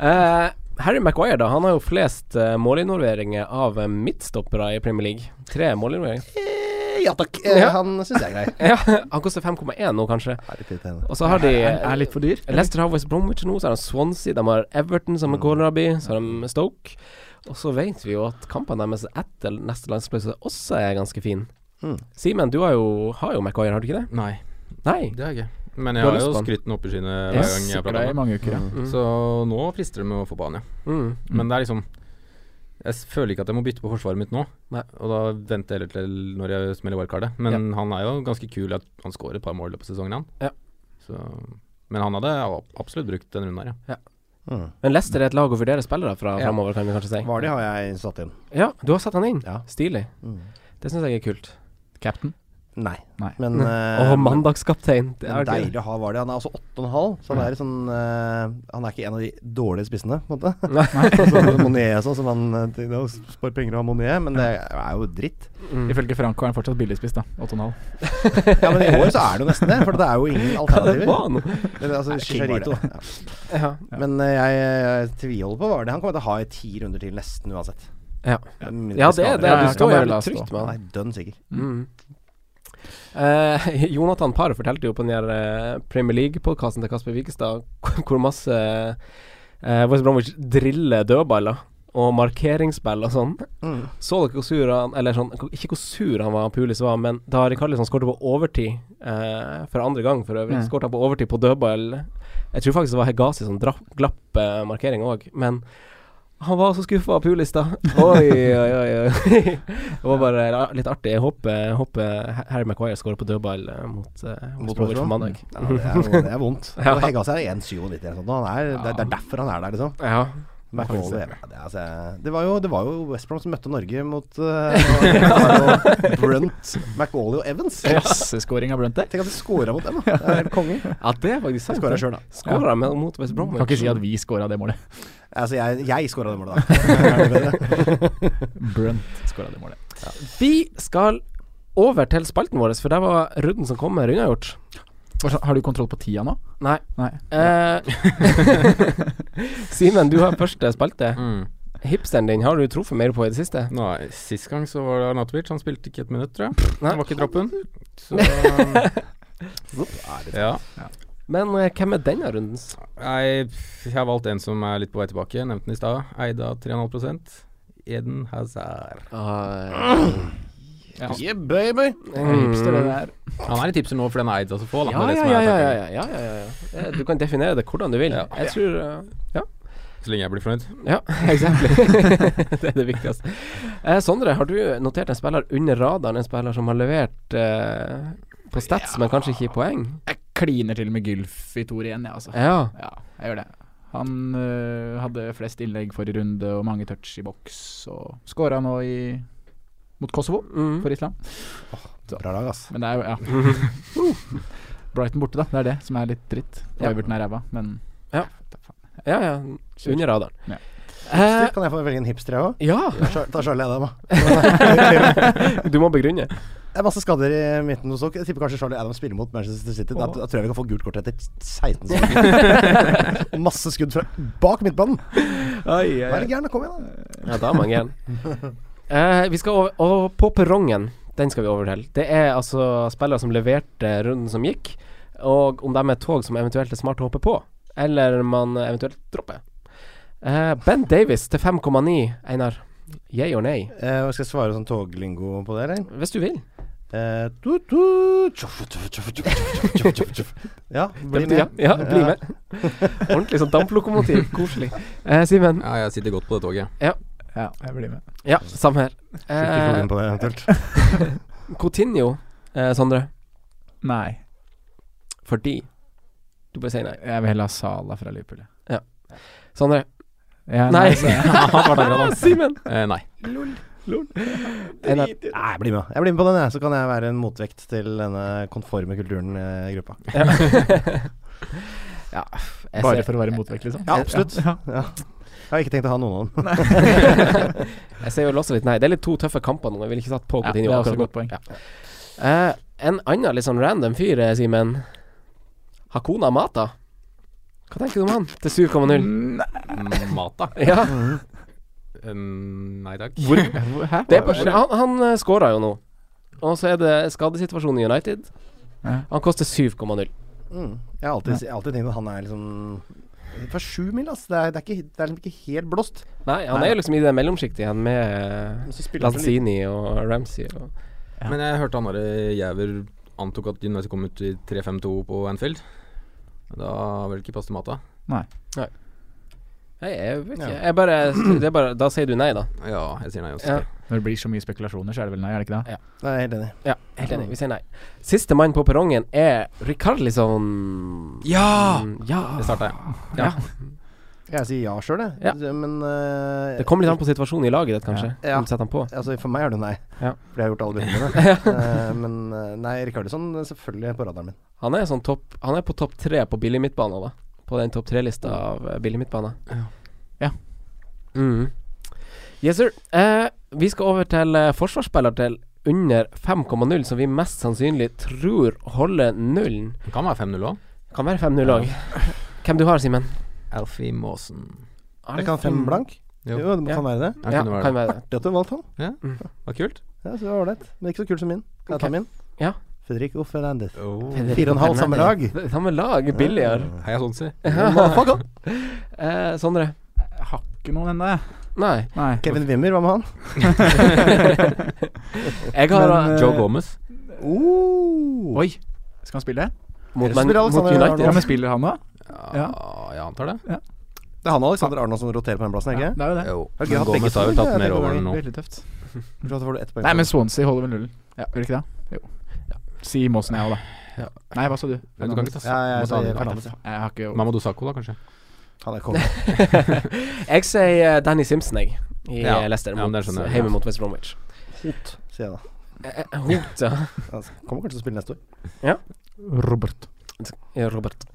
S3: Eh, Harry Maguire da, han har jo flest eh, målinvolveringer av eh, midtstoppere i Premier League. Tre målinvolveringer.
S4: Eh, Ja takk. Eh,
S3: Ja.
S4: Han syns jeg er grei.
S3: Ja, han koster 5,1 nå, kanskje.
S4: Er litt irriterende.
S3: Og så har de
S5: Han er litt for dyr.
S3: Leicester har West Bromwich nå, så har de Swansea, de har Everton som er kålrabi, så har de Stoke. Og så vet vi jo at kampene deres etter neste landspause også er ganske fin.
S4: Mm.
S3: Simen, du har jo, har jo Maguire, har du ikke det?
S1: Nei,
S3: Nei.
S1: det har jeg ikke. Men
S3: Du
S1: jeg
S3: har
S1: har
S3: lyst
S1: jo
S3: på han.
S1: skrytt den opp i skyene
S5: Jeg
S1: hver gang jeg
S5: sikra
S1: prater
S5: i
S1: om det.
S5: mange uker, ja.
S3: Mm.
S1: Så nå frister det med å få på han, ja.
S3: Mm.
S1: Men det er liksom Jeg s- føler ikke at jeg må bytte på forsvaret mitt nå.
S3: Nei.
S1: Og da venter jeg heller til når jeg smeller wildcardet. Men han er jo ganske kul. At han skårer et par mål i løpet av sesongen, han.
S3: Ja.
S1: Så, men han hadde a- absolutt brukt den runden her, ja.
S4: Mm.
S3: Men Leicester er et lag å vurdere spillere fra
S4: Ja.
S3: framover, kan vi kanskje si.
S4: Vardy har jeg satt inn.
S3: Ja, du har satt han inn.
S4: Ja.
S3: Stilig.
S4: Mm.
S3: Det syns jeg er kult.
S5: Captain.
S4: Nei.
S5: Nei. Mm.
S4: Men
S3: Å,
S4: eh,
S3: mandagskaptein. Det
S4: men
S3: er gøy.
S4: deilig å ha Vardy. Han er altså 8,5, så han er, sånn, eh, han er ikke en av de dårlige spissene, på en måte. Sånn Monier og sånn, som han eh, nå spar penger av Monier, men det er jo dritt.
S3: Mm.
S5: Ifølge Franco er han fortsatt billigspist, da. 8,5.
S4: Ja, men i år så er det jo nesten det, for det er jo ingen
S3: Det var
S4: alternativer.
S3: noe.
S4: Eller, altså,
S5: King var
S4: Chicharito,
S5: det.
S4: da. Ja.
S3: Ja.
S4: Men eh, jeg, jeg tviholder på Vardy. Han kommer til å ha i ti runder til nesten uansett.
S3: Ja.
S4: Med
S3: ja, det er det.
S4: skader.
S5: Ja,
S3: Du
S5: jeg kan
S3: står
S5: bare
S3: jævlig
S5: la stå.
S3: trygt med
S4: Han
S3: han.
S4: er dønn sikker.
S3: Mm. Eh, Jonathan Parr fortalte jo på den her eh, Premier League-podkasten til Kasper Wikestad hvor masse eh, West Bromwich driller dødballer og markeringsspill og sånn.
S4: Mm.
S3: Så dere hvor sur han Eller sånn, ikke hvor sur han var, Pulis var, men da Rikarlisson skåret på overtid eh, for andre gang, for øvrig,
S5: Mm.
S3: skåret han på overtid på dødball Jeg tror faktisk det var Hegasi som dra- glapp eh, markering òg, men han var så skuffa av Pulis, da. Oi, oi, oi. oi. det var bare ra- litt artig. Jeg håper, jeg håper Harry Maguire skårer på dødball eh, mot, eh,
S4: Mot
S3: mot Bromwich
S4: Bromwich,
S3: på mandag.
S4: Ja, det, er, jo- det er vondt.
S3: Ja.
S4: Og Hegaas er 1,97 eller noe sånt. Han er, det, er- det er derfor han er der, liksom.
S3: Ja.
S4: McAuley, ja, det, er, altså, det, var jo, det var jo West Brom som møtte Norge mot eh, Brunt, McAuley og Evans.
S5: Klasseskåring av Brunt der.
S4: Tenk at de scora mot dem, da. Det er helt konge.
S3: ja, det er faktisk
S4: Jeg
S3: sant.
S4: scora sjøl, da.
S3: Skåra mot West Bromwich.
S5: Kan ikke si at vi scora det målet.
S4: Altså, jeg, jeg scora det målet, da.
S5: Brunt scora det målet.
S3: Vi skal over til spalten vår, for der var runden som kommer, unnagjort.
S5: Hva så- Har du kontroll på tida nå?
S3: Nei.
S5: Nei.
S3: Eh, Simen, du har første spalte.
S1: Mm.
S3: Hipsteren din har du truffet mer på i det siste.
S1: Nei, Sist gang så var det Arnatovic. Han spilte ikke et minutt, tror jeg.
S3: Nei.
S1: Han var ikke i troppen. Så ja.
S3: Men eh, hvem er denne rundens?
S1: Nei, pff, jeg har valgt en som er litt på vei tilbake. Nevnte den i stad. Eida 3,5 Eden Hazard.
S5: Ja.
S4: Yeah, baby!
S5: Hipster, det der.
S1: Han er en tipser nå fordi han er eid av så få. da.
S3: Mm.
S1: Det er det
S3: Ja, ja,
S1: som er
S3: ja, ja,
S1: tanken.
S3: ja, ja, ja, ja. Eh, Du kan definere det hvordan du vil.
S1: Ja.
S3: Jeg tror eh, Ja.
S1: Så lenge jeg blir fornøyd.
S3: Ja, exactly. det er det viktigste. Eh, Sondre, har du notert en spiller under radaren? En spiller som har levert eh, på stats, men kanskje ikke i poeng?
S5: Jeg kliner til med Gylf i Tor igjen, jeg, altså.
S3: Ja.
S5: Ja, jeg gjør det. Han øh, hadde flest innlegg forrige runde og mange touch i boks, og skåra nå i mot Kosovo
S3: Mm.
S5: for Island.
S4: Bra lag, ass.
S5: Men det er jo ja. Uh. Brighton borte, da. Det er det som er litt dritt. Og
S3: Ja.
S5: Everton er ræva, men
S3: Ja. Ja, ja. Under radaren.
S5: Ja.
S3: Eh,
S4: Kan jeg få velge en hipster, jeg òg?
S3: ja.
S4: Ta Charlie Adam, da.
S3: Du må begrunne.
S4: Det er masse skader i midten hos dere. Jeg tipper kanskje Charlie Adam spiller mot Manchester City. Da, da tror jeg vi kan få gult kort etter 16 sekunder. masse skudd fra bak midtbanen. Vær litt gæren, da. Kom igjen, da.
S3: Ja, da er mange igjen. Eh, vi skal over, og på perrongen. Den skal vi over til. Det er altså spillere som leverte runden som gikk, og om de er tog som eventuelt er smart å hoppe på, eller man eventuelt dropper. Eh, ben Davis til 5,9, Einar. Yay or nay?
S4: Eh, skal jeg svare sånn toglingo på det, eller?
S3: Hvis du vil.
S4: Eh, tut, tut, tjoff, tjoff, tjoff, tjoff, tjoff, tjoff, tjoff, tjoff. Ja, bli
S3: Ja,
S4: med.
S3: ja, bli med. Ordentlig sånn damplokomotiv. Koselig. Eh, Simen.
S1: Ja, jeg sitter godt på det toget.
S5: Ja, jeg blir med.
S3: Ja, samme her.
S4: Ikke få
S3: Eh,
S4: inn på det, eventuelt.
S3: Coutinho, eh, Sondre.
S5: Nei,
S3: Fordi Du bare sier nei.
S5: jeg vil heller ha Sala fra Liverpool. jeg.
S3: Sondre.
S5: Ja, altså,
S3: Nei.
S5: så-
S3: Simen.
S1: Eh, nei.
S3: Einar.
S4: Nei, bli med. Jeg blir med på den, jeg. Så kan jeg være en motvekt til denne konforme kulturen eh, i gruppa.
S3: Ja. ja jeg
S5: Bare
S3: ser-
S5: for å være motvekt, liksom?
S4: Ja, absolutt.
S5: Ja.
S4: Ja. Jeg har ikke tenkt å ha noen av dem.
S3: Jeg ser jo også litt Nei, det er litt to tøffe kamper nå. Jeg ville ikke satt på
S5: Ja,
S3: Coutinho.
S5: det er også
S3: akkurat
S5: et
S3: nå.
S5: godt poeng.
S3: Ja. Eh, en annen litt sånn random fyr, eh, Simen. Hakuna Mata. Hva tenker du om han til 7,0?
S1: Mm, Mat, da?
S3: Ja,
S1: Mm, nei takk.
S5: Hvor, hvor, hæ?
S3: det er bare, han han eh, scora jo nå. Og så er det skadesituasjonen i United.
S5: Ja.
S3: Han koster 7,0.
S4: Mm. Jeg har alltid, jeg har alltid tenkt at han er liksom Fra sju mil, ass. Det er, det, er ikke, det er liksom ikke helt blåst.
S3: Nei, han
S4: Nei.
S3: er jo liksom i det mellomsjiktet igjen med
S4: Men
S3: eh,
S4: så spiller han så lite.
S3: Lanzini og Ramsey. Og,
S1: Men jeg hørte han derre Jæver antok at United kom ut i 3-5-2 på Anfield. Da vil ikke passe mata.
S3: nei, jeg vet ikke.
S4: Ja.
S3: Jeg bare, det er bare Da sier du nei, da.
S1: Ja, jeg sier nei også.
S3: Ja.
S5: Når det blir så mye spekulasjoner, så er det vel nei, er det ikke det?
S4: Nei, jeg er helt enig.
S3: Ja, helt enig. Vi sier nei. Siste mann på perrongen er Rikarlison.
S1: Ja!
S3: Mm, ja.
S1: Det starta jeg.
S4: Jeg sier ja sjøl, jeg.
S3: Ja.
S4: Det- Men eh,
S3: Det kommer litt an på situasjonen i laget ditt, kanskje.
S4: Ja.
S3: Om du setter han på.
S4: Altså, For meg er det nei.
S3: Ja.
S4: For jeg har gjort alle byttene mine. Eh, men eh, nei, Rikardisson er selvfølgelig på radaren min.
S3: Han er, sånn topp, han er på topp tre på billig midtbane, da. På den topp tre-lista av eh, billig midtbane.
S1: Ja.
S5: Ja.
S3: Mm. Yes, sir. Eh, vi skal over til eh, forsvarsspiller til under 5,0, som vi mest sannsynlig tror holder nullen.
S1: Det Kan være 5-0 òg.
S3: Kan være 5-0 òg. Hvem du har, Simen?
S1: Alfie Maasen.
S4: Jeg kan fem blank.
S1: Jo.
S4: Jo, det må
S3: Ja.
S4: kan være det.
S1: Ja,
S3: Ja,
S1: kunne være
S3: kan
S1: det.
S3: være det.
S4: Det at du valgte han.
S1: Var kult.
S4: Ja, så det var ålreit. Men ikke så kul som min. Kan jeg ta
S3: Ok.
S4: min?
S3: Ja.
S4: Federico Fernandez.
S1: Oh.
S4: Fire og en halv samme lag.
S3: Samme lag, billigere.
S1: Heia Sonsi.
S3: Eh, Sondre?
S5: Jeg har ikke noen ennå, jeg.
S3: Nei.
S5: Nei.
S4: Kevin Wimmer, hva med han?
S3: Jeg har
S5: Men, eh,
S1: Joe Gomez.
S4: Oh.
S5: Oi! Skal han spille?
S3: mot,
S4: Eller
S3: Man,
S4: spiller
S3: mot
S4: Alexander
S3: United.
S5: Ja, men spiller han da?
S1: Ja, Ah, jeg antar det.
S4: Det er han og Alexander Arnold som roterer på den plassen, ikke
S5: Det er jo det.
S1: Jo.
S4: Har ikke
S1: Men
S4: hatt begge
S1: Gomez har jo
S4: to,
S1: tatt
S4: jeg
S1: mer
S4: tenker
S1: over
S4: det
S1: den nå.
S5: Veldig tøft.
S4: Så får du ett poeng.
S5: Nei, men Swansea holder vel nullen. Ja, Gjør ikke det? Jo. Si Måsen jeg òg, da. Nei, hva sa du?
S1: Ja, Du kan ikke ta
S4: Ja, ja, jeg
S1: Sa- Fernandes.
S4: sier Fernandes. ja.
S5: Jeg har ikke
S1: Mamadou Sakho, da, kanskje?
S4: Han er konge.
S3: Jeg sier eh, Danny Simpson, jeg, i
S1: Ja.
S3: eh, Leicester.
S1: Ja, men
S3: Mot,
S1: det skjønner jeg.
S3: hjemme mot West Bromwich.
S4: Hot, sier jeg da.
S3: Eh, eh, Hot, ja.
S4: Han kommer kanskje til å spille neste år.
S5: Robert.
S3: Ja, Robert.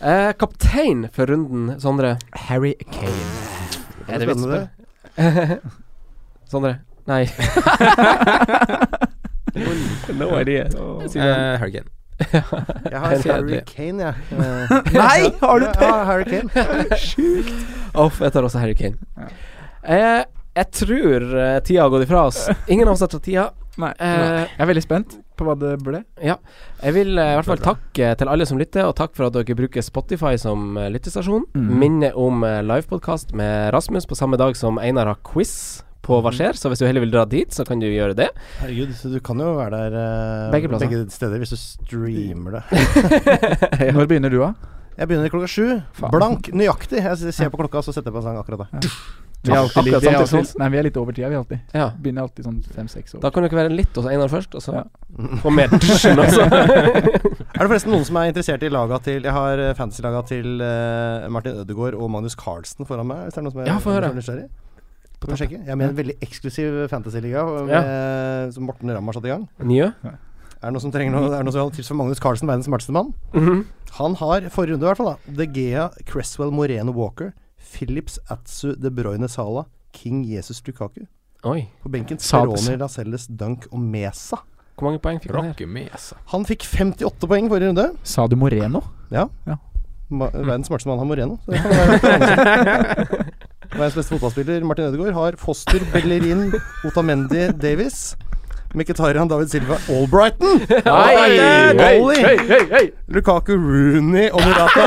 S3: Eh, kaptein for runden, Sondre.
S5: Harry Kane.
S3: Er det vits på
S4: Spennende.
S3: det? Sondre? Nei. no idea.
S1: Eh, Hurricane.
S4: Jeg har Harry
S1: Kjedelig.
S4: Kane, jeg. Nei, har du det? Ja, Harry Kane.
S3: Off, jeg tar også Harry Kane. Eh, jeg tror eh, tida har gått ifra oss. Ingen av oss har tatt tida.
S5: Nei.
S3: Eh,
S5: Jeg er veldig spent på hva det ble.
S3: Ja. Jeg vil eh, i hvert fall takke til alle som lytter, og takk for at dere bruker Spotify som eh, lyttestasjon.
S5: Mm.
S3: Minne om eh, livepodkast med Rasmus på samme dag som Einar har quiz
S5: Mm.
S3: på Hva skjer, så hvis du heller vil dra dit, så kan du gjøre det.
S4: Herregud, så du kan jo være der eh,
S3: Begge plasser.
S4: begge steder hvis du streamer det.
S5: Når begynner du, da?
S4: Jeg begynner klokka sju.
S5: Faen.
S4: Blank nøyaktig. Jeg s- ser på klokka, så setter jeg på en sang akkurat da.
S5: Vi er
S3: Akkurat
S5: alltid, litt- vi er
S3: samtidig
S5: alltid,
S3: sånn.
S5: nei, vi er litt over tida, vi alltid.
S3: Ja.
S5: Begynner alltid sånn fem-seks
S3: Da
S5: år.
S3: kan det ikke være litt hos Einar først, og så
S5: Ja.
S3: Og mer dusjen, altså.
S4: Er det forresten noen som er interessert i laga til Jeg har eh, fantasy-laga til eh, Martin Ødegaard og Magnus Carlsen foran meg. Hvis det er noen som er
S3: Ja, få høre.
S4: som er nysgjerrig. Kan vi sjekke? Jeg er med i en veldig eksklusiv eh, fantasy-liga med- som Morten Ramm har satt i gang.
S3: Njø?
S4: Er det noen som trenger noe, er det noen som har tips for Magnus Carlsen, verdens smarteste mann?
S3: Mhm.
S4: Han har, forrige runde i hvert fall, da De Gea, Cresswell, Moreno Walker, Phillips, Atsu, De Bruyne Sala, King Jesus Lukaku.
S3: Oi.
S4: På benken
S5: Sala.
S4: Speroni, Lascelles, Dunk og Mesa.
S3: Hvor mange poeng fikk han her?
S1: Rocke mesa.
S4: Han fikk 58 poeng forrige runde.
S5: Sa du Moreno?
S4: Ma verdens smarteste mann har Moreno. Så det kan være litt annerledes. verdens beste fotballspiller, Martin Ødegaard, har Foster, Bellerin, Otamendi, Davis. Mkhitaryan, David Silva, Albrighton!
S3: Hei, hei,
S4: Golly!
S3: hei, hei, hei.
S4: Lukaku, Rooney og Morata.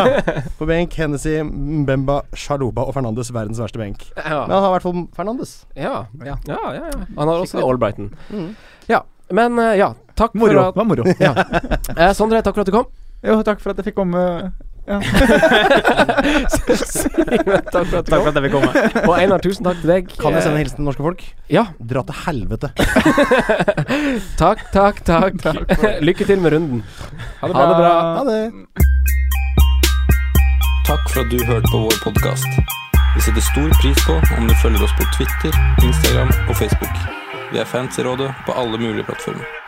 S4: På benk Hennessy, Mbemba, Shaluba og Fernandes. Verdens verste benk. Men
S3: Ja.
S4: han har i hvert fall Fernandes.
S3: Ja.
S5: Ja.
S3: ja, ja, ja. Han har også Albrighton.
S4: Mhm.
S3: Ja. Men eh, ja, takk for
S5: Moro.
S3: at
S5: Det var moro.
S3: ja. eh, Sondre, takk for at du kom.
S5: Jo, takk for at jeg fikk komme. Ja.
S3: Simen, takk for at du
S1: Takk for
S3: kom.
S1: at jeg fikk komme.
S3: Og Einar, tusen takk til deg.
S4: Kan jeg sende en hilsen til norske folk?
S3: Ja.
S4: Dra til helvete.
S3: Takk, takk, takk. Lykke til med runden.
S5: Ha det
S3: Ha det bra.
S4: Ha det.
S2: Takk for at du hørte på vår podkast. Vi setter stor pris på om du følger oss på Twitter, Instagram og Facebook. Vi er fans i rådet på alle mulige plattformer.